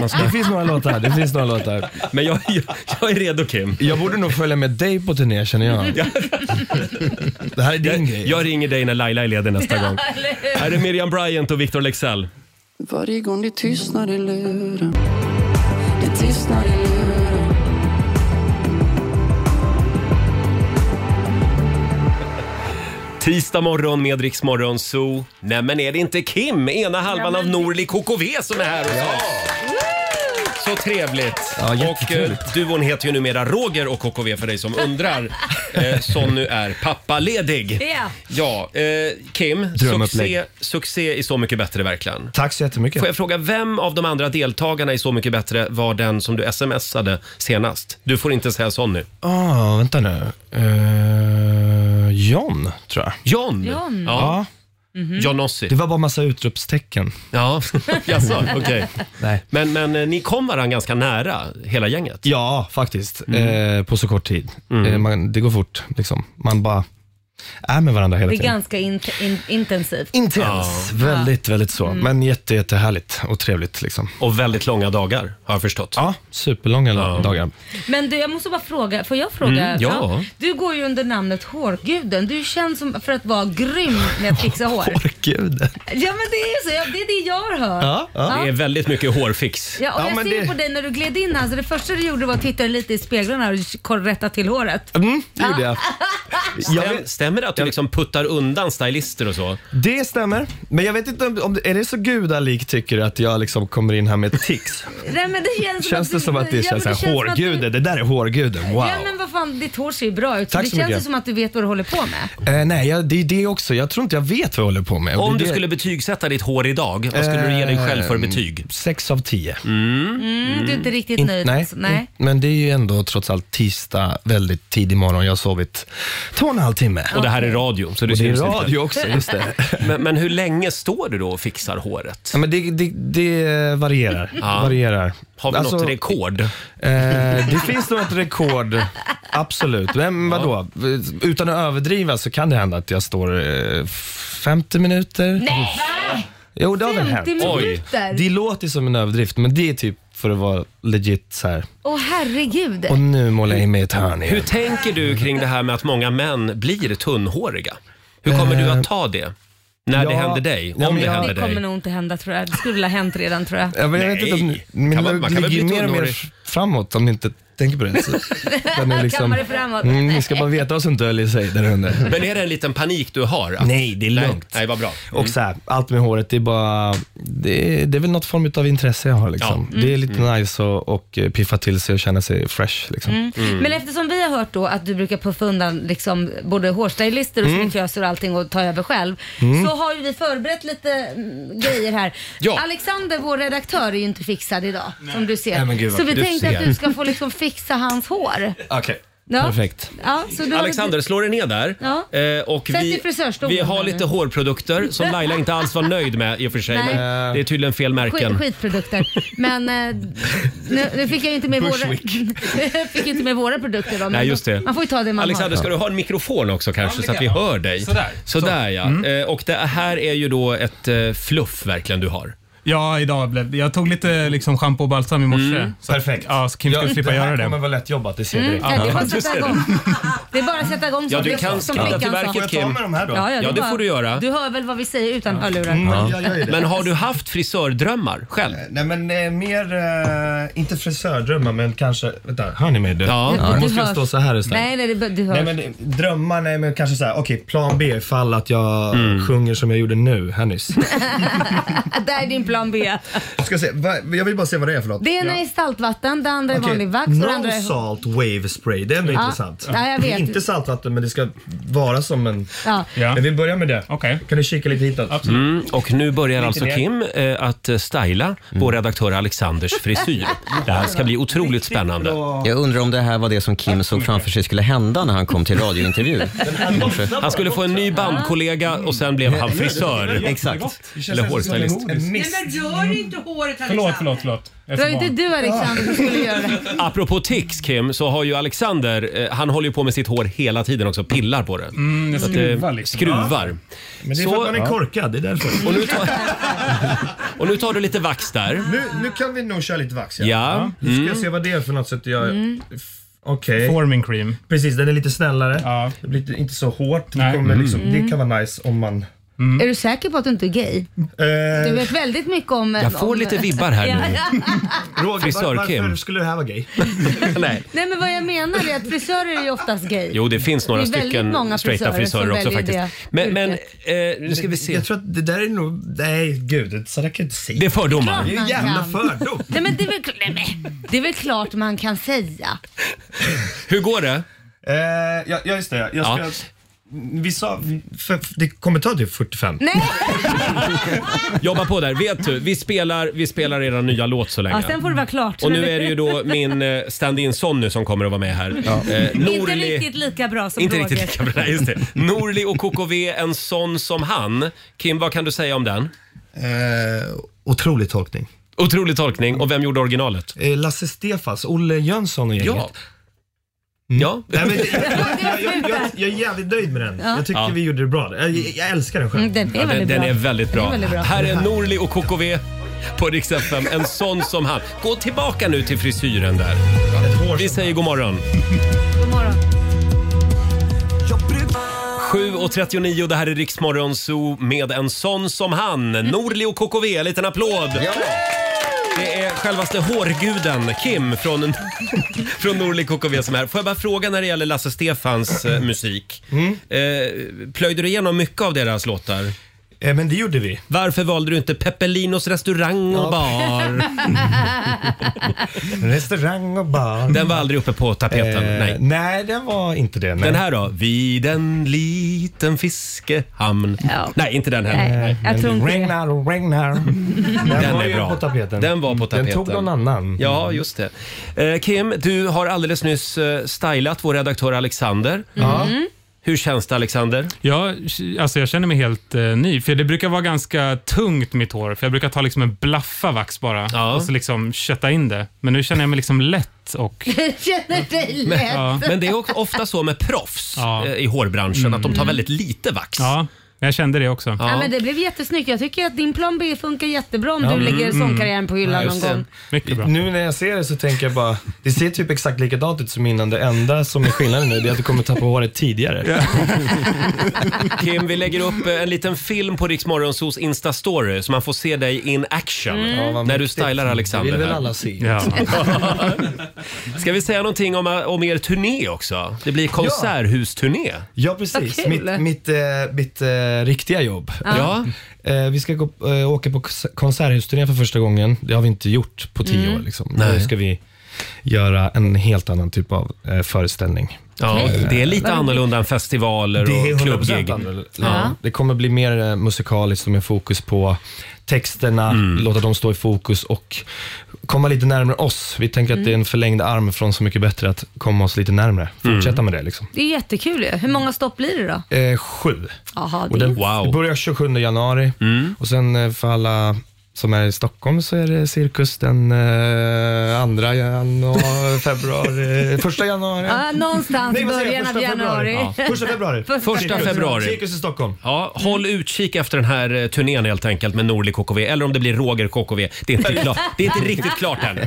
Man ska,
Det finns några låtar. Det finns några låtar.
men jag, jag, jag är redo Kim.
Jag borde nog följa med dig på turné känner jag. Det här är din
Jag,
grej.
jag ringer dig när Laila är ledig nästa gång. Här är Miriam Bryant och Victor Lexell.
Varje gång det tystnar i luren Det tystnar i luren
Tisdag morgon med Rix Morgon Zoo. Nej men är det inte Kim, ena halvan av Norli KKV som är här hos oss? Så trevligt.
Ja,
och
jättetrevligt.
eh, duon heter ju numera Roger och KKV för dig som undrar. Eh, som nu är pappaledig.
Ja.
Ja, eh, Kim,
Drömupplägg.
succé, succé i Så mycket bättre verkligen.
Tack så jättemycket.
Får jag fråga, vem av de andra deltagarna i Så mycket bättre var den som du smsade senast? Du får inte säga Sonny.
Ah, vänta nu. Eh, John, tror jag.
John?
John.
Ja.
Ja,
John Ossi.
det var bara massa utropstecken.
Ja, jaså, okej.
Nej.
Men, men eh, ni kom varandra ganska nära, hela gänget.
Mm. Ja, faktiskt. Eh, på så kort tid. Eh, man, det går fort. Liksom. Man bara är med varandra hela
Det är
tiden.
ganska int in intensivt.
Intens. Väldigt, väldigt så.
Mm.
Men jätte, jättehärligt och trevligt. Liksom.
Och väldigt långa dagar, har jag förstått.
Ja, superlånga dagar.
Men du, jag måste bara fråga. Får jag fråga?
Mm, ja.
Du går ju under namnet Hårguden. Du känns som för att vara grym med att fixa hår.
Gud.
Ja men det är ju så. Ja, Det är det jag har hört.
Det är väldigt mycket hårfix.
Ja, och jag ser ju på dig när du gled in här, så det första du gjorde var att titta lite i speglarna och rätta till håret.
Mm, det gjorde jag.
Stäm, stämmer det att du liksom puttar undan stylister och så?
Det stämmer. Men jag vet inte om, om är det så gudalik Alltså, tycker att jag liksom kommer in här med tics?
Nej, men det känns,
Känns det som att det
Alltså, Ja,
är
men
så här,
känns som att du-
hårguden, det där är hårguden, wow.
Ja men vad fan, ditt hår ser ju bra ut. Så
Tack
det
så
känns ju
mycket.
som att du vet vad du håller på med.
Eh, nej, jag, det är det också. Jag tror inte jag vet vad jag håller på med.
Om
det,
du
är det-
skulle betygsätta ditt hår idag, vad skulle du ge dig själv för
Ehm,
betyg?
Sex av tio.
Mm, du är inte riktigt
In-
nöjd
nej, Mm.
alltså. Nej.
in- men det är ju ändå trots allt tisdag, väldigt tidig morgon. Jag har sovit två och en halv timme.
Och det här är radio. Så det,
och det är
syns inte.
radio också, just det.
Men, men hur länge står du då och fixar håret?
Ja, men det, det, det varierar.
Ja.
varierar. Alltså,
Har vi något rekord? Eh,
det finns nog ett rekord, absolut. Men vadå? Utan att överdriva så kan det hända att jag står eh, 50 minuter.
Nej!
Jo, det har väl
50
hänt.
minuter?
Det låter som en överdrift, men det är typ för att vara legit så här.
Åh herregud.
Och nu målar jag in mig i ett hörn
Hur
igen.
tänker du kring det här med att många män blir tunnhåriga? Hur kommer du att ta det? När det
Eh, ja,
händer dig? Om
ja, men
det
jag-
händer
Det kommer
dig?
nog inte hända tror jag. Det skulle ha hänt redan tror jag.
Ja, men jag vet inte om, min
Kan man- man
lugg
kan väl
ligger
bli
mer och mer
tunnhårig?
f- framåt om ni inte tänker på det. Så, den är liksom,
Kammar det framåt.
Mm, ni ska bara veta vad som döljer sig där under.
Men är det en liten panik du har? Att-
Nej, det är lugnt.
Nej, nej vad bra. Mm.
Och så här, allt med håret, det är bara, det är, det är väl något form av intresse jag har. Liksom.
Ja. Mm.
Det är lite nice och, och eh, piffa till sig och känna sig fresh. Liksom.
Mm. Men eftersom vi har hört då att du brukar puffa undan liksom både hårstylister och
Mm.
sminköser och allting och ta över själv.
Mm.
Så har ju vi förberett lite mm, grejer här.
Ja.
Alexander, vår redaktör, är ju inte fixad idag som du ser.
Nej, men gud, vad
så vi
du
tänkte
ser.
att du ska få liksom fixa hans hår.
Okej,
Ja.
perfekt.
Ja, så du har-
Alexander, slå dig ner där.
Ja.
Eh, och
Sätt dig i
vi,
frisörstolen
vi har
här nu.
lite hårprodukter som Laila inte alls var nöjd med i och för sig.
Nej.
Eh.
Men det är tydligen fel märken.
Skit, skitprodukter. Men eh, nu, nu fick jag ju inte med våra,
Bushwick.
fick ju inte med våra produkter då, men
Nej, just det.
man får ju ta det man
Alexander,
har.
ska du ha en mikrofon också kanske
det
så att
kan
vi
jag.
hör dig?
Sådär.
Sådär
Så.
ja.
Mm.
Eh, Och det här är ju då ett eh, fluff verkligen du har.
Ja, idag blev Jag tog lite liksom schampo och balsam i morse.
Mm.
Så, Perfekt. Ja, så Kim ska
Ja,
slippa
det här
göra det.
kommer vara lätt jobbat, det ser
Mm, ja, det är bara att sätta igång. Det är bara att sätta igång
Ja,
som
du
flick-
kan
som
skrida
flickan
till
sa.
verket, Får jag ta Kim. med de här då?
Ja, ja,
Ja, det
hör-
får du göra.
Du hör väl vad vi säger utan hörlurar?
Mm.
Men har du haft frisördrömmar själv?
Nej men eh, mer, eh, inte frisördrömmar men kanske, vänta, hör ni mig? Du?
Ja.
Nu
Ja.
måste
Du
jag
hörs.
stå så här istället.
Nej, nej, det- du hör.
Nej men det- drömmar, nej men kanske så här, okej plan B ifall att jag sjunger som jag gjorde nu här nyss.
Där är din plan B.
Jag, ska se, va, jag vill bara se vad det är för något.
Det ena
Ja.
är saltvatten, det andra är
Okej,
vanlig vax och det andra
No
är...
salt wave spray, det är ändå
Ja.
intressant.
Ja, jag
Det är
vet.
inte saltvatten men det ska vara som en...
Ja.
Men vi börjar med det. Kan du kika lite hitåt?
Mm, och nu börjar
Lite
alltså
ner.
Kim eh, att eh, styla vår
Mm.
redaktör Alexanders frisyr. Det här ska bli otroligt spännande.
Jag undrar om det här var det som Kim såg framför sig skulle hända när han kom till radiointervjun.
Han skulle få en ny bandkollega och sen blev han frisör.
Exakt.
Eller hårstylist.
Nej men rör inte håret Alexander.
förlåt.
Det var ju inte du Alexander som skulle göra det.
Apropå tics Kim, så har ju Alexander, eh, han håller ju på med sitt hår hela tiden också, pillar på det.
Mm, det
Så att det
skruvar liksom.
Skruvar.
Men det är för att man är korkad, det är därför.
Och nu tar, och nu tar du lite vax där.
Nu, nu kan vi nog köra lite vax.
Ja.
Nu ska
Mm.
jag se vad det är för något sätt jag...
Mm.
F- Okej.
Forming cream.
Precis, den är lite snällare. Det blir lite- inte så hårt. Det, kommer liksom,
Mm.
det kan vara nice om man... Eh,
Är du säker på att du inte är gay? Du vet väldigt mycket om...
Jag får
om...
lite vibbar här nu. Roger, var,
Frisör-Kim.
varför skulle det här vara gay?
Nej.
Nej men vad jag menar är att frisörer är ju oftast gay.
Jo, det finns några
Det är väldigt många
stycken straighta
frisörer som
frisörer också
väljer
faktiskt.
det
Men, men eh, nu ska vi se.
Jag tror att det där är nog... Nej, gud. Så där kan jag inte säga.
Det är fördomar.
Klart
Det är
man
ju jävla
kan.
fördom.
Nej men, det är väl, kl- nej, men det är väl klart man kan säga.
Hur går det?
Eh, ja, ja, just det. Jag ska,
Ja.
Vi sa... För, för- det kommer ta typ 45.
Nej!
Jobba på där. Vet du, vi spelar, vi spelar era nya låt så länge.
Ja, sen får det vara klart.
Och nu är det ju då min eh, stand-in Sonny som kommer att vara med här. Eh,
Inte
Norli,
riktigt lika bra som
inte
Roger.
riktigt lika bra. Nej, Just det. Norli och KKV, en sån som han. Kim, vad kan du säga om den?
Eh, otrolig tolkning.
Otrolig tolkning. Och vem gjorde originalet?
Eh, Lasse Stefans, Olle Jönsson och gänget.
Ja. Ja.
Nej, men, jag,
jag-
jag, jag, jag är jävligt nöjd med den. Jag tycker
Ja.
vi gjorde det bra. Jag, jag älskar den själv.
Mm, den är Ja, den- väldigt den bra. är väldigt bra. Den är väldigt bra. Här är Norli och KKV på Rix FM. En sån som han. Gå tillbaka nu till frisyren där. Vi säger god morgon.
God morgon.
7.39, det här är Riksmorgon Zoo med en sån som han. Norli och KKV, en liten applåd! Det är självaste hårguden Kim från, från Norli KKV som är här. Får jag bara fråga när det gäller Lasse Stefans eh, musik.
Mm.
Eh, plöjde du igenom mycket av deras låtar?
Eh, men det gjorde vi.
Varför valde du inte Peppelinos restaurang och bar?
Restaurang och bar.
Den var aldrig uppe på tapeten?
Eh,
nej.
nej, den var inte det. nej.
Den här då? Vid en liten fiskehamn. Nej, inte den heller.
Nej, jag tror inte det. Regnar, regnar. Den,
Den
var
är
ju
bra.
på tapeten. Mm.
Den var på tapeten.
Den tog någon annan.
Ja, just det. Eh, Kim, du har alldeles nyss eh, stylat vår redaktör Alexander.
Ja. Mm.
Hur känns det Alexander?
Ja, alltså jag känner mig helt eh, ny, för det brukar vara ganska tungt mitt hår. För Jag brukar ta liksom en blaffa vax bara och så liksom kötta in det. Men nu känner jag mig liksom lätt och...
Jag känner dig lätt.
Men, men det är också ofta så med proffs
Ja.
eh, i hårbranschen att de tar
Mm.
väldigt lite vax.
Ja, jag kände det också.
Ja. men det blev jättesnyggt. Jag tycker att din plan B funkar jättebra om
Ja,
du
mm,
lägger
mm.
sångkarriären på hyllan
Nej,
någon
just det.
gång.
Nu när jag ser det så tänker jag bara, det ser typ exakt likadant ut som innan. Det enda som är skillnaden nu det är att du kommer tappa håret tidigare.
Kim, vi lägger upp eh, en liten film på Rix Morgonzoos Insta-story så man får se dig in action
Mm. Ja, vad
när du
mäktigt.
stylar Alexander.
Det vill väl
här.
alla se.
Ja. Ska vi säga någonting om, eh, om er turné också? Det blir konserthusturné.
Ja, precis.
Vad kul.
Mitt, mitt, eh, mitt eh, riktiga jobb.
Ja.
Eh, vi ska gå, eh, åka på kons- konserthusturné för första gången. Det har vi inte gjort på tio
Mm.
år. Liksom.
Nej.
Nu ska vi göra en helt
Mm.
annan typ av eh, föreställning.
Ja,
Eh,
det är lite annorlunda än festivaler
det är
och
100%
klubbgig.
annorlunda.
Ja.
Det kommer bli mer eh, musikaliskt med fokus på texterna, låta dem stå i fokus och komma lite närmare oss. Vi tänker att det är en förlängd arm från Så mycket bättre att komma oss lite närmare. Fortsätta med det. liksom.
Det är jättekul ju. Hur många stopp blir det då?
Eh, sju.
Jaha,
Och
det...
den det börjar 27 januari och sen eh, för alla som är i Stockholm så är det cirkus den eh, andra januari, februari, eh, första januari.
Ja, någonstans
Nej,
i
vad säger jag?
början av
Första februari.
januari.
Ja. Första februari.
Första
Cirkus.
februari.
Cirkus i Stockholm. Mm.
Ja, håll utkik efter den här eh, turnén helt enkelt med Norli KKV eller om det blir Roger KKV. Det är inte, klart. Det är inte riktigt klart än.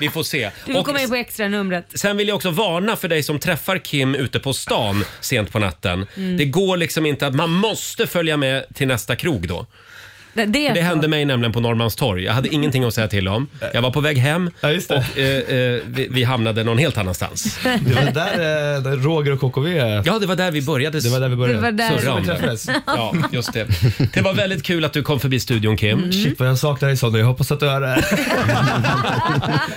Vi får se.
Du får
Och
komma in på extra numret.
Sen vill jag också varna för dig som träffar Kim ute på stan sent på natten.
Mm.
Det går liksom inte att man måste följa med till nästa krog då.
Det, det, är
Det
så.
hände mig nämligen på Norrmalmstorg. Jag hade ingenting att säga till om. Jag var på väg hem och eh, eh, vi, vi hamnade någon helt annanstans.
Det var där eh, där Roger och KKV
Ja, det var där vi började.
Det var där vi började.
Det var där.
surra om
vi
det.
träffades.
Ja, just det. Det var väldigt kul att du kom förbi studion Kim.
Mm. Shit vad jag saknar dig Sonny, jag hoppas att du är här.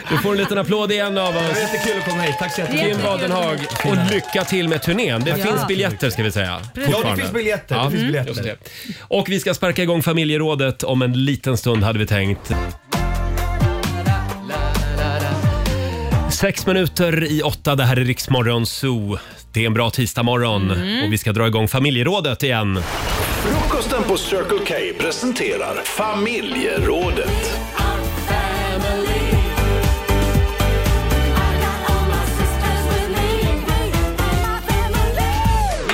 Du får en liten applåd igen av
Det
oss.
var jättekul att komma hit, tack så jättemycket.
Kim Wadenhag och lycka till med turnén. Det
Ja.
finns biljetter ska vi säga.
Ja, det
fortfarande. Mm.
finns biljetter, det finns biljetter.
just det. Och vi ska sparka igång familjerådet om en liten stund hade vi tänkt. Sex minuter i åtta, det här är Riksmorgon Zoo. Det är en bra tisdagmorgon
Mm.
och vi ska dra igång familjerådet igen.
Frukosten på Circle K presenterar familjerådet.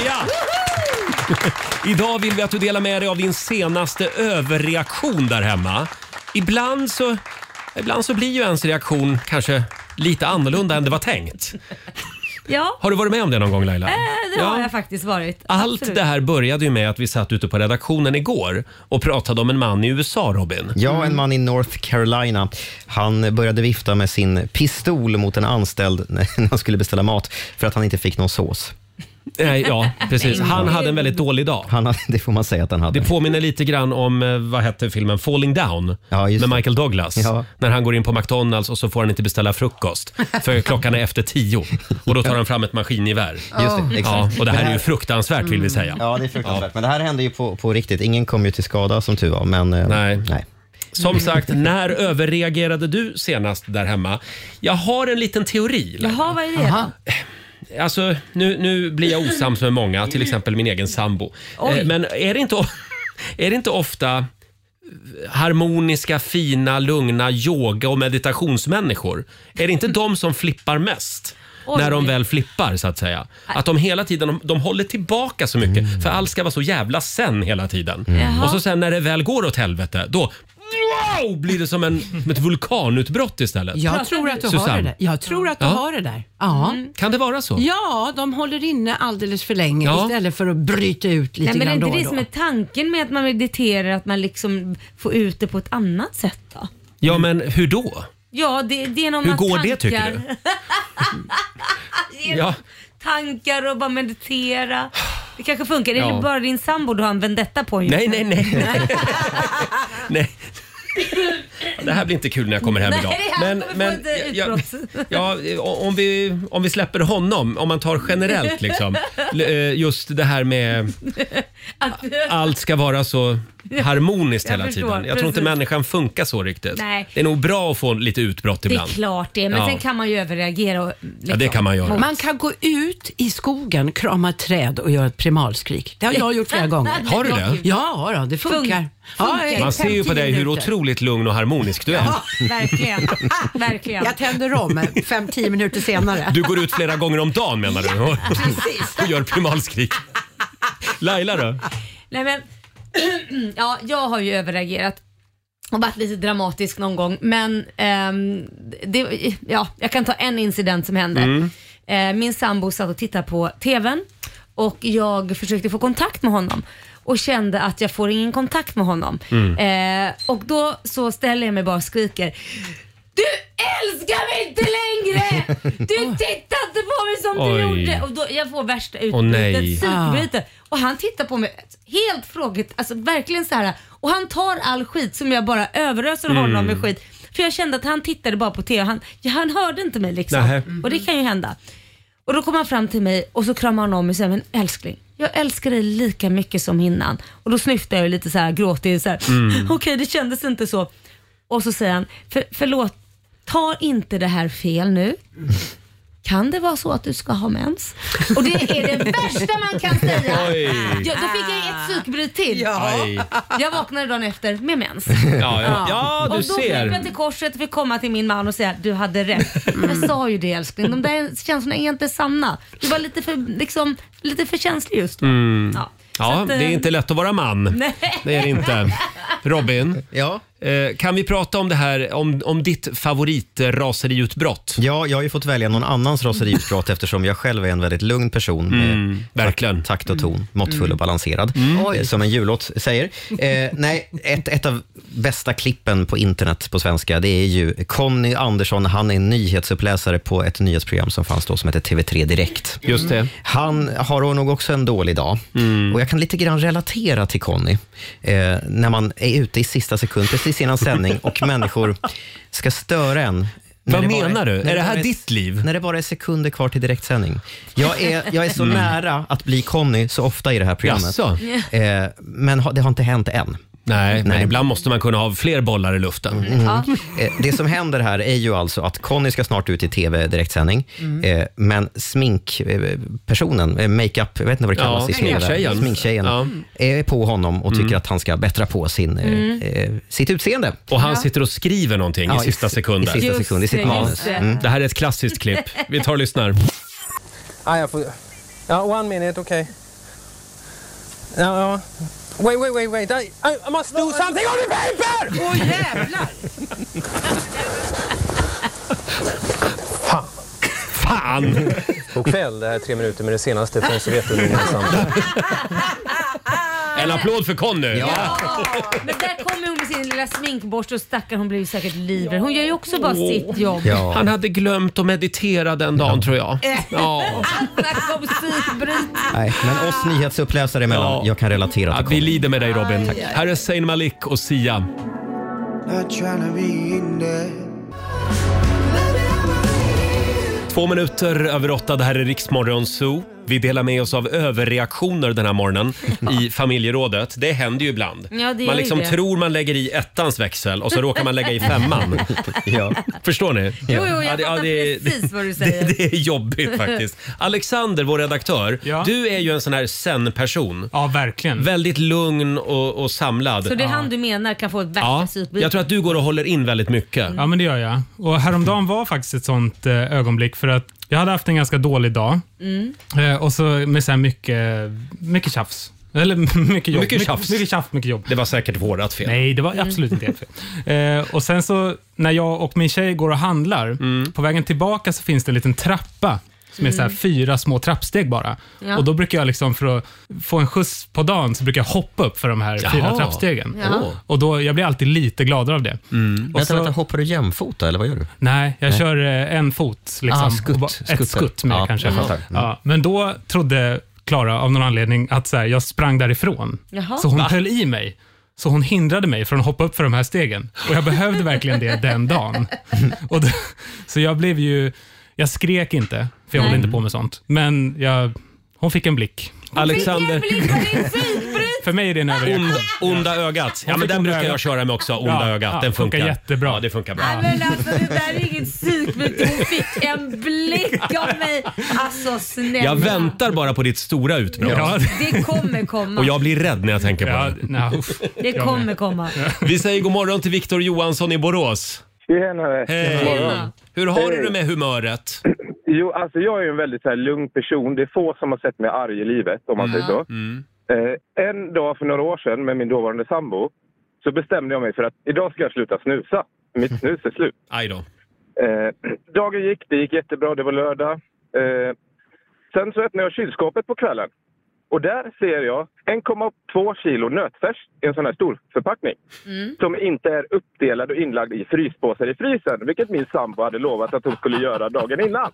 Ja! Idag vill vi att du delar med dig av din senaste överreaktion där hemma. Ibland så, ibland så blir ju ens reaktion kanske lite annorlunda än det var tänkt.
Ja,
Har du varit med om det någon gång Laila?
eh, det har jag faktiskt varit.
Allt
Absolut.
det här började ju med att vi satt ute på redaktionen igår och pratade om en man i USA, Robin.
Ja, en man i North Carolina. Han började vifta med sin pistol mot en anställd när han skulle beställa mat för att han inte fick någon sås.
Nej, Eh, ja, precis. Han hade en väldigt dålig dag.
Han hade, det får man säga att han hade.
Det påminner lite grann om, eh, vad hette filmen, Falling Down med Michael Douglas.
Ja.
När han går in på McDonalds och så får han inte beställa frukost för klockan är efter tio. Och då tar han fram ett maskingevär.
Just det,
ja,
exakt.
och det här är ju
Mm.
fruktansvärt vill vi säga.
Ja, det är fruktansvärt. Men det här hände ju på, på riktigt. Ingen kom ju till skada som tur var, men eh,
Nej.
nej.
Som sagt, när överreagerade du senast där hemma? Jag har en liten teori. Laila.
Jaha, vad är det då?
Alltså, nu, nu blir jag osams med många, till exempel min egen sambo.
Mm. Oj.
Eh, Men är det inte, o- är det inte ofta harmoniska, fina, lugna yoga och meditationsmänniskor. Är det inte de som flippar mest?
Oj.
När de väl flippar så att säga. Att de hela tiden, de, de håller tillbaka så mycket. För allt ska vara så jävla sen hela tiden.
Mm. Jaha.
Och så sen när det väl går åt helvete, då wow, blir det som en, som ett vulkanutbrott istället.
Jag tror att du har det där. Jag tror att du
Ja.
har det där. Ja.
Kan det vara så?
Ja, de håller inne alldeles för länge
Ja.
istället för att bryta ut lite
Nej, men är
grann
inte
då
det
och
som
då.
är tanken med att man mediterar, att man liksom får ut det på ett annat sätt då?
Ja, men hur då?
Ja, det, det är genom
Hur
att
går
tankar,
det, tycker
genom tankar och bara meditera. Det kanske funkar. Är
Ja.
det bara din sambo du har en vendetta på just
Nej,
nu?
nej, nej. nej. nej. Det här blir inte kul när jag kommer hem
Nej,
idag.
han kommer få ett, eh,
jag,
utbrott.
ja, om, vi, om vi släpper honom, om man tar generellt liksom. L- eh, Just det här med
Att,
allt ska vara så harmoniskt
Jag
hela
förstår,
tiden. Jag tror inte
precis.
människan funkar så riktigt.
Nej.
Det är nog bra att få lite utbrott
det
ibland.
är klart det, men
Ja.
sen kan man ju överreagera. Och, liksom.
Ja, det kan man göra.
Man kan gå ut i skogen, krama ett träd och göra ett primalskrik. Det har jag gjort flera gånger.
Har du det?
Ja, då, det funkar. Ja, i
Man ser ju på
50
dig hur
minuter.
otroligt lugn och harmonisk du är.
verkligen. verkligen.
Jag tänder om 5-10 minuter senare.
Du går ut flera gånger om dagen menar du? Och, och gör primalskrik. Laila då?
Nej men, ja, jag har ju överreagerat och varit lite dramatisk någon gång. Men ehm, det, ja, jag kan ta en incident som hände.
Mm.
Eh, min sambo satt och tittade på TVn och jag försökte få kontakt med honom och kände att jag får ingen kontakt med honom.
Mm.
Eh, och då så ställer jag mig bara och skriker Du älskar mig inte längre! Du tittar inte på mig som du
Oj.
gjorde! Och då, jag får värsta
Åh, nej.
utbrytet,
Ah.
psykbrytet. Och han tittar på mig helt fråget, alltså verkligen så här. Och han tar all skit som jag bara överöser
Mm.
honom med skit. För jag kände att han tittade bara på TV, han, ja, han hörde inte mig liksom.
Nähä.
Och det kan ju hända. Och då kom han fram till mig och så kramade han om mig och sa, men älskling, jag älskar dig lika mycket som innan. Och då snyftade jag lite så här gråtig, så här,
Mm.
okej det kändes inte så. Och så säger han, för, förlåt, ta inte det här fel nu. Kan det vara så att du ska ha mens? Och det är det värsta man kan säga.
Oj.
Ja, då fick jag ett psykbryt till.
Aj.
Jag vaknade dagen efter med mens.
Ja, ja. ja du
och då
ser.
fick jag typ till korset fick komma till min man och säga du hade rätt. Jag sa ju det älskling, de där känslorna är inte sanna. Du var lite för, liksom, lite för känslig just då.
Mm.
Ja.
Ja,
Så att, eh,
det är inte lätt att vara man.
Nej.
Det är det inte. Robin, ja? kan vi prata om det här om, om ditt favoritraseriutbrott?
Ja, jag har ju fått välja någon annans raseriutbrott eftersom jag själv är en väldigt lugn person.
Mm,
verkligen. Takt och ton, måttfull och balanserad. eh, Som en jullåt säger. Eh, nej, ett, ett av bästa klippen på internet på svenska, det är ju Conny Andersson. Han är nyhetsuppläsare på ett nyhetsprogram som fanns då som heter TV3 Direkt.
Just det.
Han har nog också en dålig dag.
Mm.
Och jag kan lite grann relatera till Conny. Eh, när man är ute i sista sekund, precis innan sändning och människor ska störa en.
Vad
När det bara
menar du?
när
Är det här
bara
ditt liv?
När det bara är sekunder kvar till direktsändning. Jag är, jag är så nära att bli Conny så ofta i det här programmet.
Mm. Jaså?
Eh, men ha, det har inte hänt än.
Nej, men ibland måste man kunna ha fler bollar i luften.
Mm. Eh, Det som händer här är ju alltså att Conny ska snart ut i tv-direktsändning, eh, men sminkpersonen, eh, makeup, jag vet inte vad det
Ja,
kallas i
sminktjejen.
sminkvärlden, sminktjejen, är på honom och tycker att han ska bättra på sin, eh,
Mm.
eh, sitt utseende.
Och han sitter och skriver någonting
Ja,
i sista
i si- i
sekunden.
sista Just sekund, i sitt det, manus. just det. Mm.
Det här är ett klassiskt klipp. Vi tar och lyssnar.
Ah, jag får... Ja, one minute, okej. Ja, ja. Wait, wait, wait, wait. I, I must do something on the paper! Åh, oh, jävlar!
Fan!
God kväll, det här är tre minuter med det senaste från Sovjetunionen.
En applåd för Conny!
Ja.
eh, Men där kommer hon med sin lilla sminkborste och stackaren hon blir ju säkert livrädd. Hon gör ju också bara
Åh.
sitt jobb.
Han hade glömt att meditera den dagen tror jag.
Eh.
Ja.
Snacka om psykbryt.
Nej, men oss nyhetsuppläsare emellan, jag kan relatera till
Vi lider med dig Robin. Här är Zayn Malik och Sia. Två minuter över åtta, det här är Riksmorgon Zoo. Vi delar med oss av överreaktioner den här morgonen i familjerådet. Det händer ju ibland.
Ja, det gör
man
ju
liksom
det.
tror man lägger i ettans växel och så råkar man lägga i femman. Förstår ni?
Jo, jo, jag
det-
fattar
det,
precis vad du
det,
säger.
det är jobbigt faktiskt. Alexander, vår redaktör, du är ju en sån här zen-person.
Ja, verkligen.
Väldigt lugn och, och samlad.
Så det är han du menar kan få ett värsta
Ja,
psykbryt?
jag tror att du går och håller in väldigt mycket.
Mm.
Ja, men det gör jag. Och Häromdagen var faktiskt ett sånt eh, ögonblick för att jag hade haft en ganska dålig dag
Mm.
eh, och så med så här mycket, mycket tjafs. Eller mycket jobb.
Mycket tjafs.
Mycket tjafs, mycket jobb.
Det var säkert vårat fel.
Nej, det var
Mm.
absolut inte ert fel. Eh, och sen så när jag och min tjej går och handlar, på vägen tillbaka så finns det en liten trappa som är så här
Mm.
fyra små trappsteg bara.
Ja.
Och då brukar jag liksom för att få en skjuts på dagen så brukar jag hoppa upp för de här
Jaha.
fyra trappstegen.
Ja.
Och då, jag blir alltid lite gladare av det. Och
Vänta,
så-
vänta, hoppar du jämfota eller vad gör du?
Nej, jag
Nej.
kör eh, en fot. Liksom,
Ah, skutt,
Och bara-
skutt.
ett skutt med
Ja,
kanske.
jag fattar. Mm.
Ja, men då trodde Klara av någon anledning att så här, jag sprang därifrån.
Jaha.
Så hon
Va?
höll i mig. Så hon hindrade mig från att hoppa upp för de här stegen. Och jag behövde verkligen det den dagen. Och då, så jag blev ju... Jag skrek inte, för
Nej.
jag håller inte på med sånt. Men jag, hon fick en blick.
Alexander.
För mig är det en överreaktion.
Ond- onda ögat. Ja,
Hon
men
fick
den
onda
brukar jag
ögat.
köra med också. Onda
Ja,
ögat.
ja,
Den funkar.
funkar jättebra.
Ja, det funkar bra.
Nej, men alltså det där är inget psykbryt. Hon fick en blick av mig. Alltså snälla.
Jag väntar bara på ditt stora utbrott.
Det kommer komma.
Och jag blir rädd när jag tänker på
det.
Det kommer komma.
Vi säger god morgon till Viktor Johansson i Borås.
Tjenare!
Hej!
Tjena.
Hur har
Hej.
du det med humöret?
Jo, alltså jag är ju en väldigt så här, lugn person. Det är få som har sett mig arg i livet, om man säger
Mm.
så. Eh, en dag för några år sedan med min dåvarande sambo så bestämde jag mig för att idag ska jag sluta snusa. Mitt snus är slut.
Aj då.
Eh, dagen gick, det gick jättebra, det var lördag. Eh, sen så öppnade jag kylskåpet på kvällen och där ser jag 1,2 kilo nötfärs i en sån här stor förpackning som inte är uppdelad och inlagd i fryspåsar i frysen, vilket min sambo hade lovat att hon skulle göra dagen innan.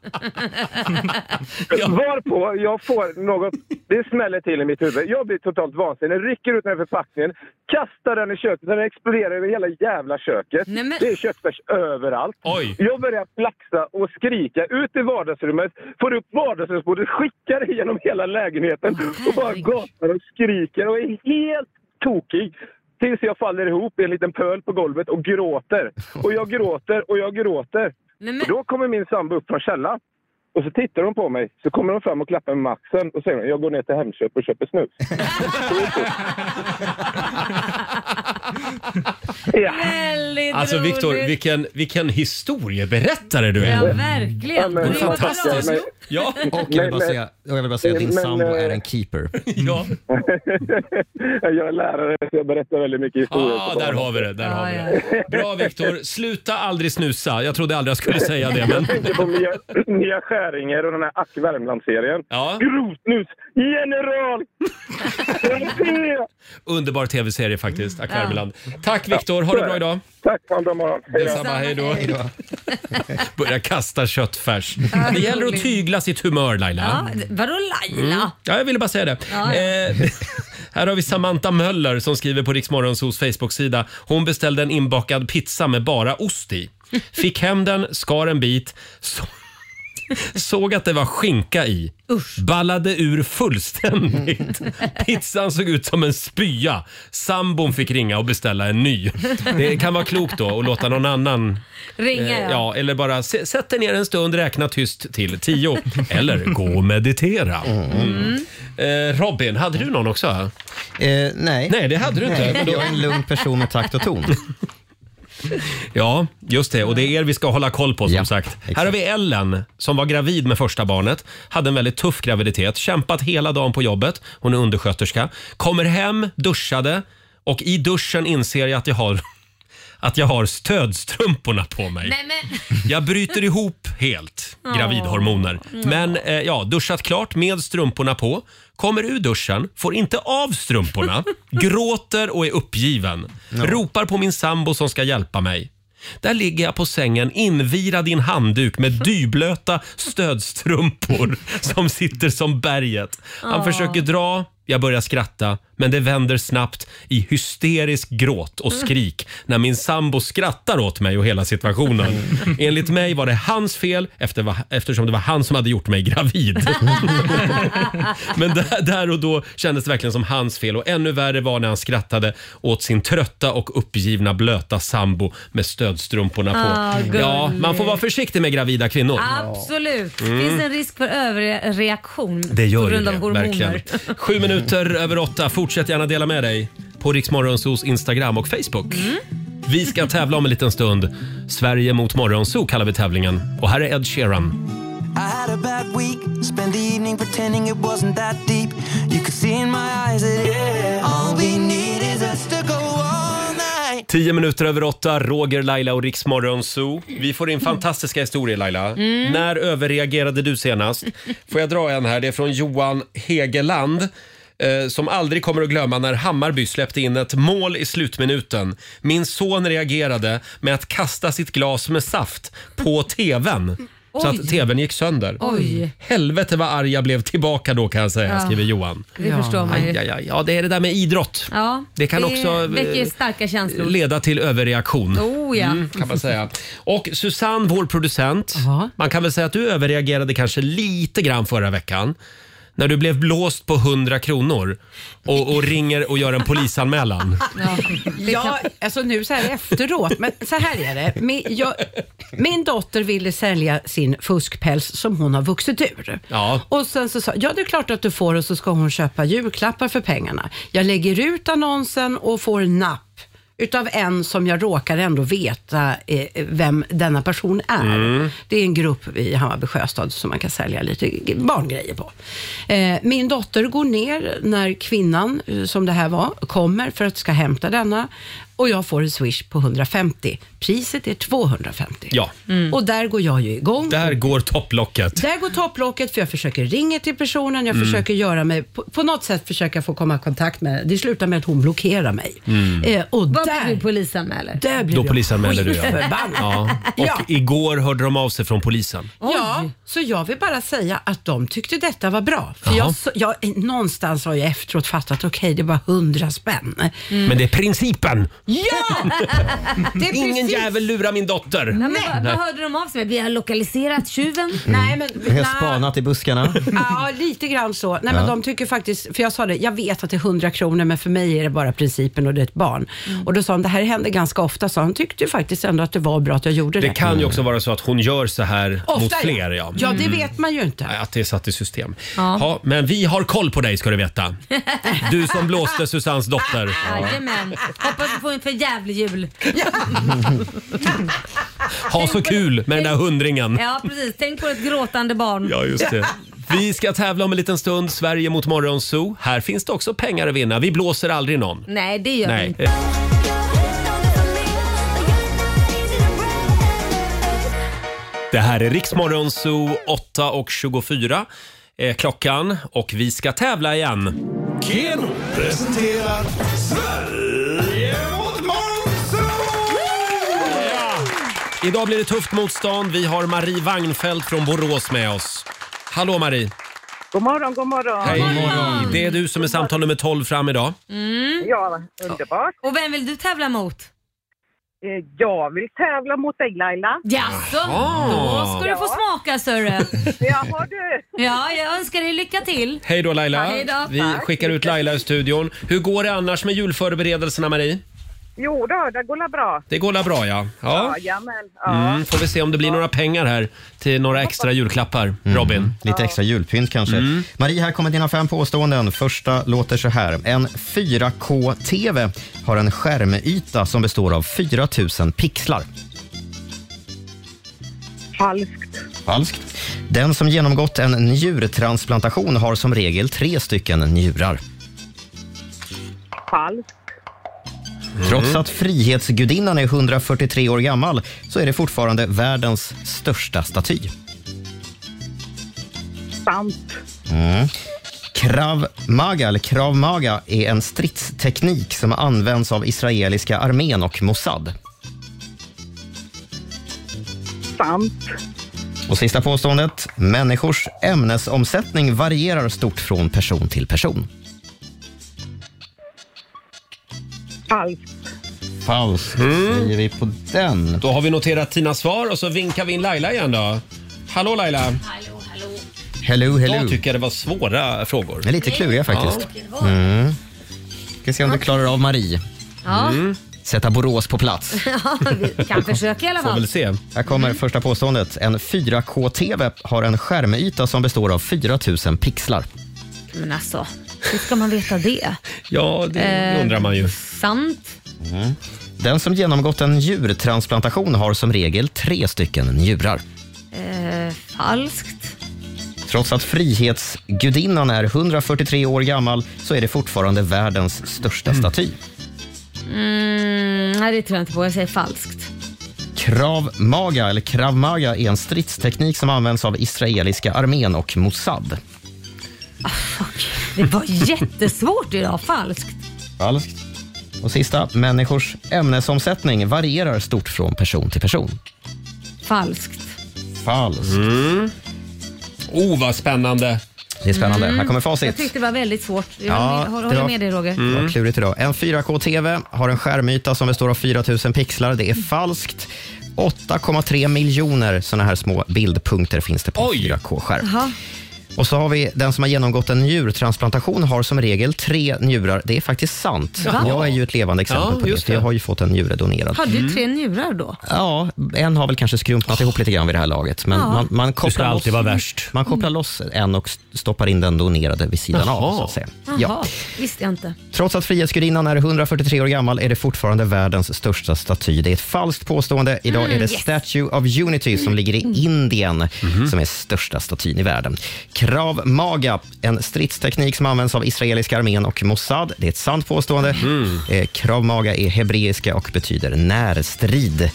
Varpå jag får något, det smäller till i mitt huvud. Jag blir totalt vansinnig, rycker ut den här förpackningen, kastar den i köket, den exploderar över hela jävla köket. Det är köttfärs överallt. Jag börjar flaxa och skrika ut i vardagsrummet, får upp vardagsrumsbordet, skickar det genom hela lägenheten och bara gapar och skriker och är helt tokig. Tills jag faller ihop i en liten pöl på golvet och gråter. Och jag gråter och jag gråter. Och då kommer min sambo upp från källaren. Och så tittar hon på mig, så kommer hon fram och klappar mig på axeln och säger jag går ner till Hemköp och köper snus.
Väldigt
Alltså
roligt.
Viktor, vilken, vilken historieberättare du är.
Ja, verkligen.
men-
Och det var
Fantastiskt.
bra.
Men- Ja.
Och jag vill bara
Men-
säga, och jag vill bara säga din
men-
sambo
eh,
är en keeper.
Ja.
jag är lärare så jag berättar väldigt mycket historier.
Ah,
för barn.
där har vi det. Där har vi det. Bra Viktor, sluta aldrig snusa. Jag trodde aldrig jag skulle säga det. Men...
Jag tänker på Mia, Mia Skäringer och den här Ack Värmland-serien.
Ja.
Grovsnus! General!
Underbar tv-serie faktiskt, Ack Värmeland. Tack Viktor, ha det bra idag.
Tack, ha en bra morgon. Hej då.
Detsamma, hej då. Börja kasta köttfärs. Det gäller att tygla sitt humör
Ja,
Laila.
d- vadå Laila?
Mm. Ja, jag ville bara säga det.
Ja, ja.
Eh, här har vi Samantha Möller som skriver på Riksmorgonsos Facebook-sida. Hon beställde en inbakad pizza med bara ost i. Fick hem den, skar en bit, så såg att det var skinka i. Ballade ur fullständigt. Pizzan såg ut som en spya. Sambon fick ringa och beställa en ny. Det kan vara klokt då att låta någon annan
Ringa
Eh,
ja.
ja, eller bara s- sätt dig ner en stund, räkna tyst till tio. Eller gå och meditera. Mm. Eh, Robin, hade du någon också?
Eh, nej.
Nej, det hade du inte.
Nej, jag är en lugn person med takt och ton.
Ja, just det. Och det är er vi ska hålla koll på som sagt. Här har vi Ellen som var gravid med första barnet. Hade en väldigt tuff graviditet. Kämpat hela dagen på jobbet. Hon är undersköterska. Kommer hem, duschade och i duschen inser jag att jag har, att jag har stödstrumporna på mig.
Nej men,
Jag bryter ihop helt,
Åh.
gravidhormoner. Men eh, ja, duschat klart med strumporna på. Kommer ur duschen, får inte av strumporna, gråter och är uppgiven. Ropar på min sambo som ska hjälpa mig. Där ligger jag på sängen invirad i en handduk med dyblöta stödstrumpor som sitter som berget. Han
Åh.
försöker dra, jag börjar skratta, men det vänder snabbt i hysterisk gråt och skrik när min sambo skrattar åt mig och hela situationen. Enligt mig var det hans fel efter, va- eftersom det var han som hade gjort mig gravid. Men där, där och då kändes det verkligen som hans fel och ännu värre var när han skrattade åt sin trötta och uppgivna blöta sambo med stödstrumporna på.
Ah, gulligt. Ah,
ja, man får vara försiktig med gravida kvinnor.
Absolut.
Mm.
Finns en risk för överreaktion
Det gör
på
ju
grund
det,
av hormoner.
verkligen. Sju minuter över åtta. Fortsätt gärna dela med dig på Riksmorgonsos Instagram och Facebook.
Mm.
Vi ska tävla om en liten stund. Sverige mot Morgonzoo kallar vi tävlingen. Och här är Ed Sheeran.
I had a bad week, spent the evening pretending it wasn't that deep. You could see in my eyes that all we need is us to go all night.
Tio minuter över åtta, Roger, Laila och Riksmorgonzoo. Vi får in
Mm.
fantastiska historier Laila.
Mm.
När överreagerade du senast? Får jag dra en här? Det är från Johan Hegeland. eh, Som aldrig kommer att glömma när Hammarby släppte in ett mål i slutminuten. Min son reagerade med att kasta sitt glas med saft på TVn. Så
Oj.
att TVn gick sönder.
Oj.
Helvete vad arg jag blev tillbaka då kan jag säga,
Ja.
skriver Johan.
Det Ja. förstår man ju.
Aj, aj, aj. Ja, det är det där med idrott.
Ja,
Det kan också, eh,
väcker starka känslor.
leda till överreaktion.
Oh, ja.
kan man säga. Och Susanne, vår producent. Man kan väl säga att du överreagerade kanske lite grann förra veckan. När du blev blåst på 100 kronor och, och ringer och gör en polisanmälan.
Ja, alltså nu så här efteråt, men så här är det. Min, jag, min dotter ville sälja sin fuskpäls som hon har vuxit ur.
Ja.
Och sen så sa ja det är klart att du får och så ska hon köpa julklappar för pengarna. Jag lägger ut annonsen och får napp utav en som jag råkar ändå veta eh, vem denna person är.
Mm.
Det är en grupp i Hammarby Sjöstad som man kan sälja lite g- barngrejer på. Eh, min dotter går ner när kvinnan, eh, som det här var, kommer för att ska hämta denna och jag får en swish på 150. Priset är 250.
Ja.
Mm.
Och där går jag ju igång.
Där går topplocket.
Där går topplocket för jag försöker ringa till personen, jag
Mm.
försöker göra mig, på, på något sätt försöka få komma i kontakt med henne. Det slutar med att hon blockerar mig.
Mm.
Eh, och
Vad
där,
blir du polisanmäler?
Där blir
Då
jag
polisanmäler du ja.
skitförbannad.
ja. Och
Ja.
igår hörde de av sig från polisen.
Ja, så jag vill bara säga att de tyckte detta var bra. För jag, så- jag, någonstans har jag efteråt fattat, okej det var hundra spänn.
Men det är principen.
Ja!
Mm. Det är
Ingen
precis-
jävel lurar min dotter.
Nej, men vad, vad hörde de av sig med? Vi har lokaliserat tjuven.
Mm.
Nej, men,
Jag har spanat i buskarna.
Ja, lite grann så. Nej,
Ja.
men de tycker faktiskt, för jag sa det, jag vet att det är 100 kronor, men för mig är det bara principen och det är ett barn.
Mm.
Och då sa hon, det här händer ganska ofta, så hon tyckte ju faktiskt ändå att det var bra att jag gjorde det.
Det kan ju också vara så att hon gör så här
Ofta,
mot fler. Ja,
ja det
Mm.
vet man ju inte.
Nej, Att det är satt i system. Ja.
Ja.
men vi har koll på dig ska du veta. Du som blåste Susans dotter.
Jajamän. Hoppas du får en för jävlig jul.
Ha så kul med den där hundringen.
Ja precis, tänk på ett gråtande barn.
Ja, just det. Vi ska tävla om en liten stund. Sverige mot Morgonzoo. Här finns det också pengar att vinna. Vi blåser aldrig någon.
Nej det gör vi
Nej.
inte.
Det här är Riksmorgonzoo 8.24 är eh, klockan och vi ska tävla igen.
Keno presenterar Sverige mot Monzo!
Idag blir det tufft motstånd. Vi har Marie Wagnfeldt från Borås med oss. Hallå Marie!
God morgon, god morgon.
Hej! Det är du som är samtal nummer 12 fram idag.
Mm. Ja, underbart. Eh,
Och vem vill du tävla mot?
Jag vill tävla mot dig Laila.
Jaså? Då ska du få smaka Sörre.
Jaha du.
Ja, jag önskar dig lycka till.
Hej då Laila!
Ja, hej då.
Vi
Tack.
skickar ut Laila i studion. Hur går det annars med julförberedelserna Marie?
Jo då, det går la bra.
Det går la bra ja. ja.
Jajamän.
Mm, får vi se om det blir några pengar här till några extra julklappar. Robin.
Lite extra julpynt kanske. Marie, här kommer dina fem påståenden. Första låter så här. En 4K-TV har en skärmyta som består av 4000 pixlar.
Falskt.
Falskt. Den som genomgått en njurtransplantation har som regel tre stycken njurar.
Falskt.
Trots att Frihetsgudinnan är 143 år gammal så är det fortfarande världens största staty.
Sant.
Mm. Krav maga, eller krav maga, är en stridsteknik som används av israeliska armén och Mossad.
Sant.
Och sista påståendet. Människors ämnesomsättning varierar stort från person till person.
Falskt.
Falskt
Mm.
säger vi på den. Då har vi noterat Tinas svar och så vinkar vi in Laila igen då. Hallå Laila!
Hello, hello.
Då tycker jag det var svåra frågor.
De är lite kluriga faktiskt. Mm. Ska se om du klarar av Marie.
Ja. Mm.
Sätta Borås på plats.
Ja, vi kan försöka i alla fall.
se.
Här kommer första påståendet. En 4K-TV har en skärmyta som består av 4000 pixlar.
Men alltså, hur ska man veta det?
Ja,
det Eh. undrar man
ju.
Sant?
Mm. Den som genomgått en djurtransplantation har som regel tre stycken njurar.
Eh, falskt?
Trots att frihetsgudinnan är 143 år gammal så är det fortfarande världens största staty.
Mm, nej, det tror jag inte på. Jag säger falskt.
Krav maga, eller krav maga, är en stridsteknik som används av israeliska armén och Mossad.
Det var jättesvårt idag. Falskt.
Falskt. Och sista, människors ämnesomsättning varierar stort från person till person.
Falskt.
Falskt.
Mm.
Oh, vad spännande.
Det är spännande. Här kommer
Mm. Jag
facit.
tyckte det var väldigt svårt. Jag håller med, håller
det var-
med dig
Mm.
Roger.
Det var klurigt idag. En 4K-TV har en skärmyta som består av 4000 pixlar. Det är
Mm.
falskt. 8,3 miljoner såna här små bildpunkter finns det på en 4K-skärm.
Jaha.
Och så har vi den som har genomgått en njurtransplantation har som regel tre njurar. Det är faktiskt sant.
Va?
Jag är ju ett levande exempel
Ja,
på
just
det.
det.
Jag har ju fått en njure donerad.
Har du
Mm.
tre njurar då?
Ja, en har väl kanske skrumpnat ihop lite grann vid det här laget. Men
Ja.
man, man
Du
kopplar
ska
loss,
alltid vara värst.
Man kopplar loss en och stoppar in den donerade vid sidan av.
Jaha.
Så att säga.
Mm. Jaha,
Ja.
visste jag inte.
Trots att Frihetsgudinnan är 143 år gammal är det fortfarande världens största staty. Det är ett falskt påstående. Idag
Mm,
är det
yes. Mm.
Statue of Unity som ligger i Indien som är största statyn i världen. Krav maga, en stridsteknik som används av israeliska armén och Mossad. Det är ett sant påstående. Eh, Krav maga är hebreiska och betyder närstrid.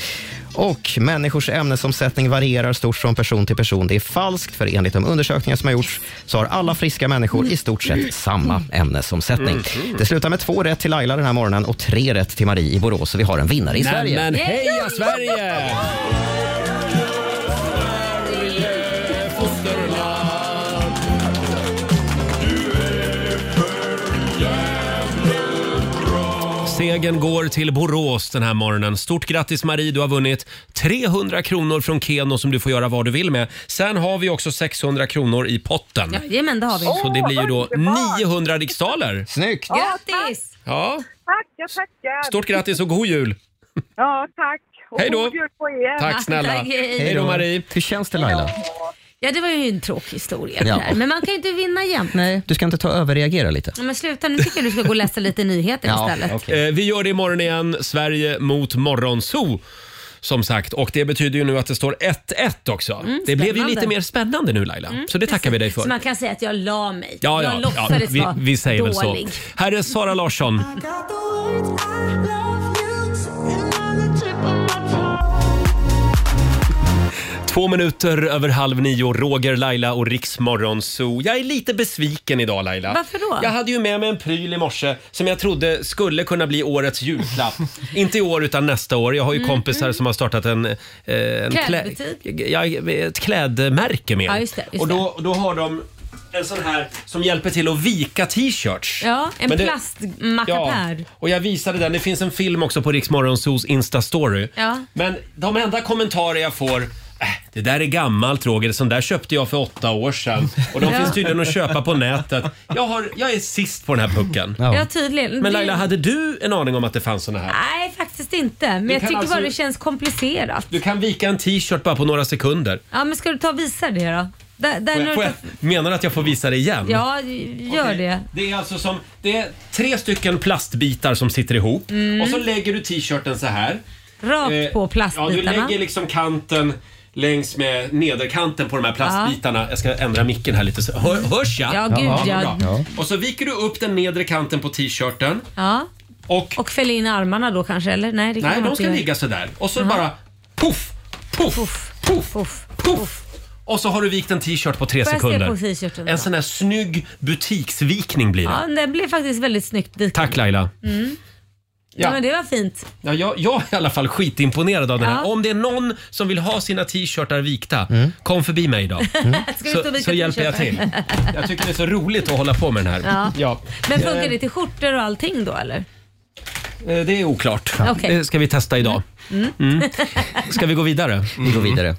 Och människors ämnesomsättning varierar stort från person till person. Det är falskt, för enligt de undersökningar som har gjorts så har alla friska människor i stort sett samma ämnesomsättning.
Mm.
Det slutar med två rätt till Laila den här morgonen och tre rätt till Marie i Borås. Så vi har en vinnare i
Nej,
Sverige.
men heja Sverige! Segern går till Borås den här morgonen. Stort grattis Marie, du har vunnit 300 kronor från Keno som du får göra vad du vill med. Sen har vi också 600 kronor i potten.
Jajamän, det har vi.
Så det blir ju då 900 riksdaler.
Snyggt!
Grattis!
Ja,
Tackar, tackar.
stort grattis och god jul!
Ja, tack. Och
Hej då.
god jul på er.
Tack snälla. Hej då Marie.
Hur känns det Laila?
Ja, det var ju en tråkig historia
Ja.
det där. Men man kan ju inte vinna jämt. Nej.
Du ska inte ta och överreagera lite.
Men sluta, nu tycker jag du ska gå och läsa lite nyheter istället.
Eh, Vi gör det imorgon igen. Sverige mot Morgonzoo. Som sagt, och det betyder ju nu att det står 1-1 också. det blev ju
Mm, spännande.
lite mer spännande nu Laila, så det tackar vi dig
Så
för.
man kan säga att jag la mig.
Ja,
jag
ja, ja
låtsades
vi,
vara
vi säger väl så.
dålig.
Här är Sara Larsson. Två minuter över halv nio, Roger, Laila och Riksmorgon Zoo. Jag är lite besviken idag Laila.
Varför då?
Jag hade ju med mig en pryl i morse som jag trodde skulle kunna bli årets julklapp. Inte i år utan nästa år. Jag har ju
Mm,
kompisar
mm.
som har startat en, eh, en klä,
Klädbutik.
ja, ett klädmärke med.
Ja, just det, just
och då, då har de en sån här som hjälper till att vika t-shirts.
Ja, en
Men det-
plastmackapär.
och jag visade den. Det finns en film också på Riksmorgonsos Insta-story.
Ja.
Men de enda kommentarer jag får "Äh, det där är gammalt Roger, sån där köpte jag för åtta år sedan. Och de
Ja.
finns tydligen att köpa på nätet. Jag, har, jag är sist på den här pucken.
Ja, tydligen.
Men Laila,
Det-
hade du en aning om att det fanns såna här?
Nej, faktiskt inte. Men
Du
jag
kan
tycker
alltså-
bara det känns komplicerat.
Du kan vika en t-shirt bara på några sekunder.
Ja, men ska du ta och visa det då? Där, där
Får
när
jag, får jag,
du tar-
menar du att jag får visa det igen?
Ja, gör
Okej.
det.
Det är alltså som, det är tre stycken plastbitar som sitter ihop
Mm.
och så lägger du t-shirten så här.
Rakt
Eh,
på plastbitarna.
Ja, du lägger liksom kanten längs med nederkanten på de här plastbitarna. Jag ska ändra micken här lite. så- Hör, hörs jag?
Ja, gud, ja.
bra.
Ja.
Och så viker du upp den nedre kanten på t-shirten.
Ja.
Och,
och fäll in armarna då kanske, eller? Nej, det kan
Nej,
man
de
inte
ska
göra.
ligga sådär. Och så bara poff, poff, poff, poff, poff. Och så har du vikt en t-shirt på tre
Får jag se
sekunder.
på t-shirten då?
en sån här snygg butiksvikning blir det.
Ja, det blev faktiskt väldigt snyggt dikat.
Tack Laila.
Mm. Ja.
Ja.
men det var fint.
Ja, jag, jag är i alla fall skitimponerad av den här.
Ja.
Om det är någon som vill ha sina t-shirtar vikta, kom förbi mig idag.
Ska vi stå och
Så,
vika
så hjälper jag till.
t-shirtar?
Jag tycker det är så roligt att hålla på med den här.
Ja. Men funkar
Eh,
det till skjortor och allting då eller?
Eh, Det är oklart.
Okej.
Det ska vi testa idag.
Mm.
Mm. Ska vi gå vidare? Vi går vidare.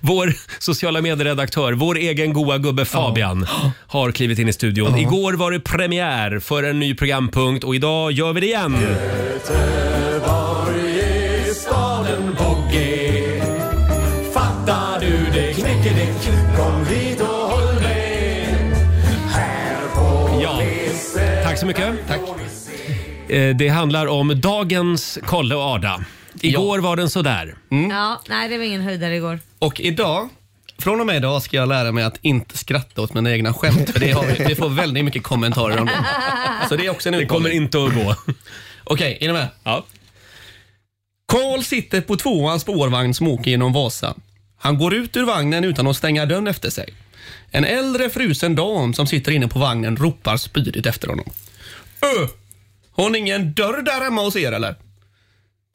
Vår sociala medieredaktör, vår egen goa gubbe Fabian, har klivit in i studion.
Ja.
Igår var det premiär för en ny programpunkt och idag gör vi det igen.
Göteborg är staden på G. Fattar du det? Knäckedeck. Kom hit och håll med. Här på
Ja.
Liseberg.
Tack så mycket. Tack. Eh, Det handlar om dagens Kalle och Ada. Igår var den sådär.
Ja, nej det var ingen höjdare igår.
Och idag, från och med idag ska jag lära mig att inte skratta åt mina egna skämt. För det har vi, vi får väldigt mycket kommentarer om det. Så det är också en Det kommer
inte att gå.
Okej, är ni med?
Ja.
Karl sitter på tvåans spårvagn som åker genom Vasa. Han går ut ur vagnen utan att stänga dörren efter sig. En äldre frusen dam som sitter inne på vagnen ropar spydigt efter honom. Ö! Har ni ingen dörr där hemma hos er eller?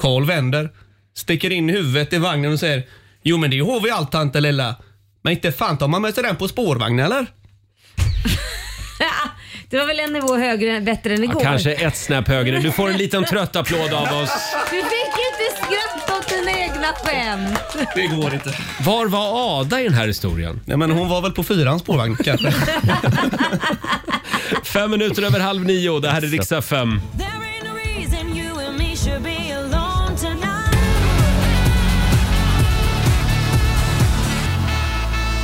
Karl vänder, sticker in huvudet i vagnen och säger Jo men det har vi allt tante Lilla. Men inte fan tar man med sig den på spårvagn eller?
Det var väl en nivå högre, bättre än igår?
Kanske ett snäpp högre. Du får en liten trött applåd av oss.
Du fick ju inte skratta åt dina egna skämt.
Det går inte.
Var var Ada i den här historien?
Nej men hon var väl på fyrans spårvagn kanske.
Fem minuter över halv nio. Det här är riksdag fem.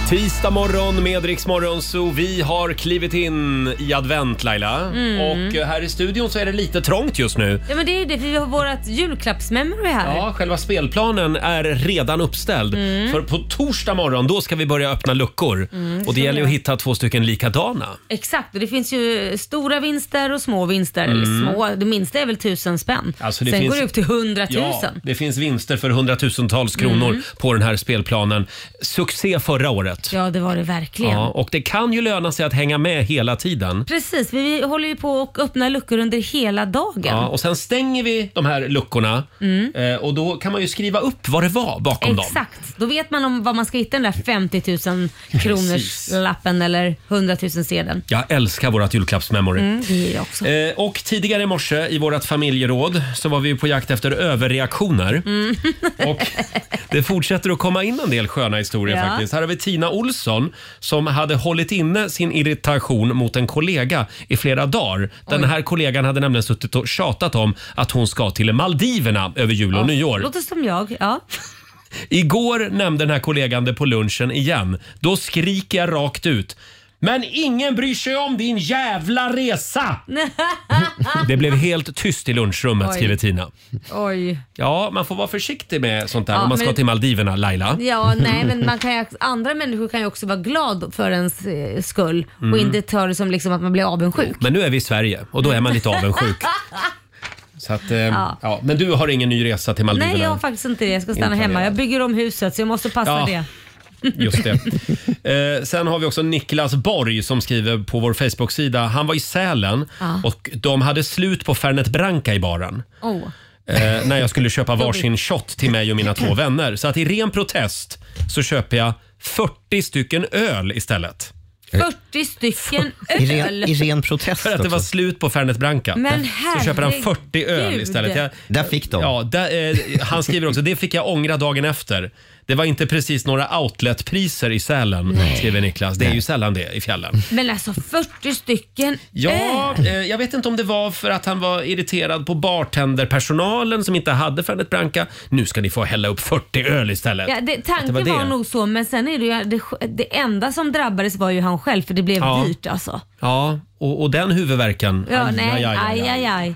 Tisdag morgon med Rix Morgon, så vi har klivit in i advent Laila.
Mm.
Och eh, här i studion så är det lite trångt just nu.
Ja men det är ju det, för vi har vårat julklappsmemory här.
Ja, själva spelplanen är redan uppställd.
Mm.
För på torsdag morgon då ska vi börja öppna luckor.
Mm, det
och
ska
det gäller
vi
ju att
göra.
hitta två stycken likadana.
Exakt, och det finns ju stora vinster och små vinster. Eller
Mm.
små, det minsta är väl tusen spänn.
Alltså, det
Sen
finns-
går det upp till
Ja,
hundratusen.
det finns vinster för hundratusentals kronor
Mm.
på den här spelplanen. Succé förra året.
Ja. det var det verkligen.
Ja, och det kan ju löna sig att hänga med hela tiden.
Precis, vi håller ju på och öppnar luckor under hela dagen.
Ja, och sen stänger vi de här luckorna
Mm.
eh, och då kan man ju skriva upp vad det var bakom dem.
Exakt, då vet man om vad man ska hitta den där 50 000
Precis.
kronors lappen eller 100 000 sedeln.
Jag älskar vårt julklappsmemory.
Mm, det är jag också.
Eh, och tidigare i morse i vårt familjeråd så var vi på jakt efter överreaktioner.
Mm.
Det fortsätter att komma in en del sköna historier
Ja.
faktiskt. Här har vi Tina Olsson som hade hållit inne sin irritation mot en kollega i flera dagar. Den
Oj.
här kollegan hade nämligen suttit och tjatat om att hon ska till Maldiverna över jul och
Ja,
nyår.
Låter som jag. Ja.
Igår nämnde den här kollegan det på lunchen igen. Då skriker jag rakt ut. Men ingen bryr sig om din jävla resa! Det blev helt tyst i lunchrummet
Oj.
skriver Tina.
Oj.
Ja, man får vara försiktig med sånt där
Ja,
om man ska
men-
till Maldiverna, Laila.
Ja, nej, men man kan ju, andra människor kan ju också vara glad för ens eh, skull
Mm.
och inte ta det som liksom att man blir avundsjuk.
Men nu är vi i Sverige och då är man lite avundsjuk. Så att, eh, ja.
Ja.
men du har ingen ny resa till Maldiverna?
Nej, jag har faktiskt inte det. Jag ska stanna
Inte
hemma.
det.
Jag bygger om huset så jag måste passa
Ja.
det.
Just det. Eh, sen har vi också Niklas Borg som skriver på vår Facebook-sida. Han var i Sälen
Ja.
och de hade slut på Fernet Branca i baren.
Oh.
Eh, när jag skulle köpa varsin shot till mig och mina två vänner. Så att i ren protest så köper jag 40 stycken öl istället.
40 stycken öl!
protest För att det var slut på Fernet Branca.
Men
så köper han
herregud.
40 öl istället.
Där fick de.
Ja, där, eh, han skriver också, det fick jag ångra dagen efter. Det var inte precis några outletpriser i Sälen,
Nej.
skriver Niklas. Det är ju sällan det i fjällen.
Men alltså 40 stycken
Ja,
öl!
eh, jag vet inte om det var för att han var irriterad på bartenderpersonalen som inte hade Fernet Branca. Nu ska ni få hälla upp 40 öl istället.
Ja, det,
Att
tanken var, nog så, men sen är det ju det, det enda som drabbades var ju han själv för det blev
Ja.
dyrt alltså.
Ja, och, och den huvudvärken.
Ja,
Aj,
nej,
aj, aj, aj.
aj, aj, aj.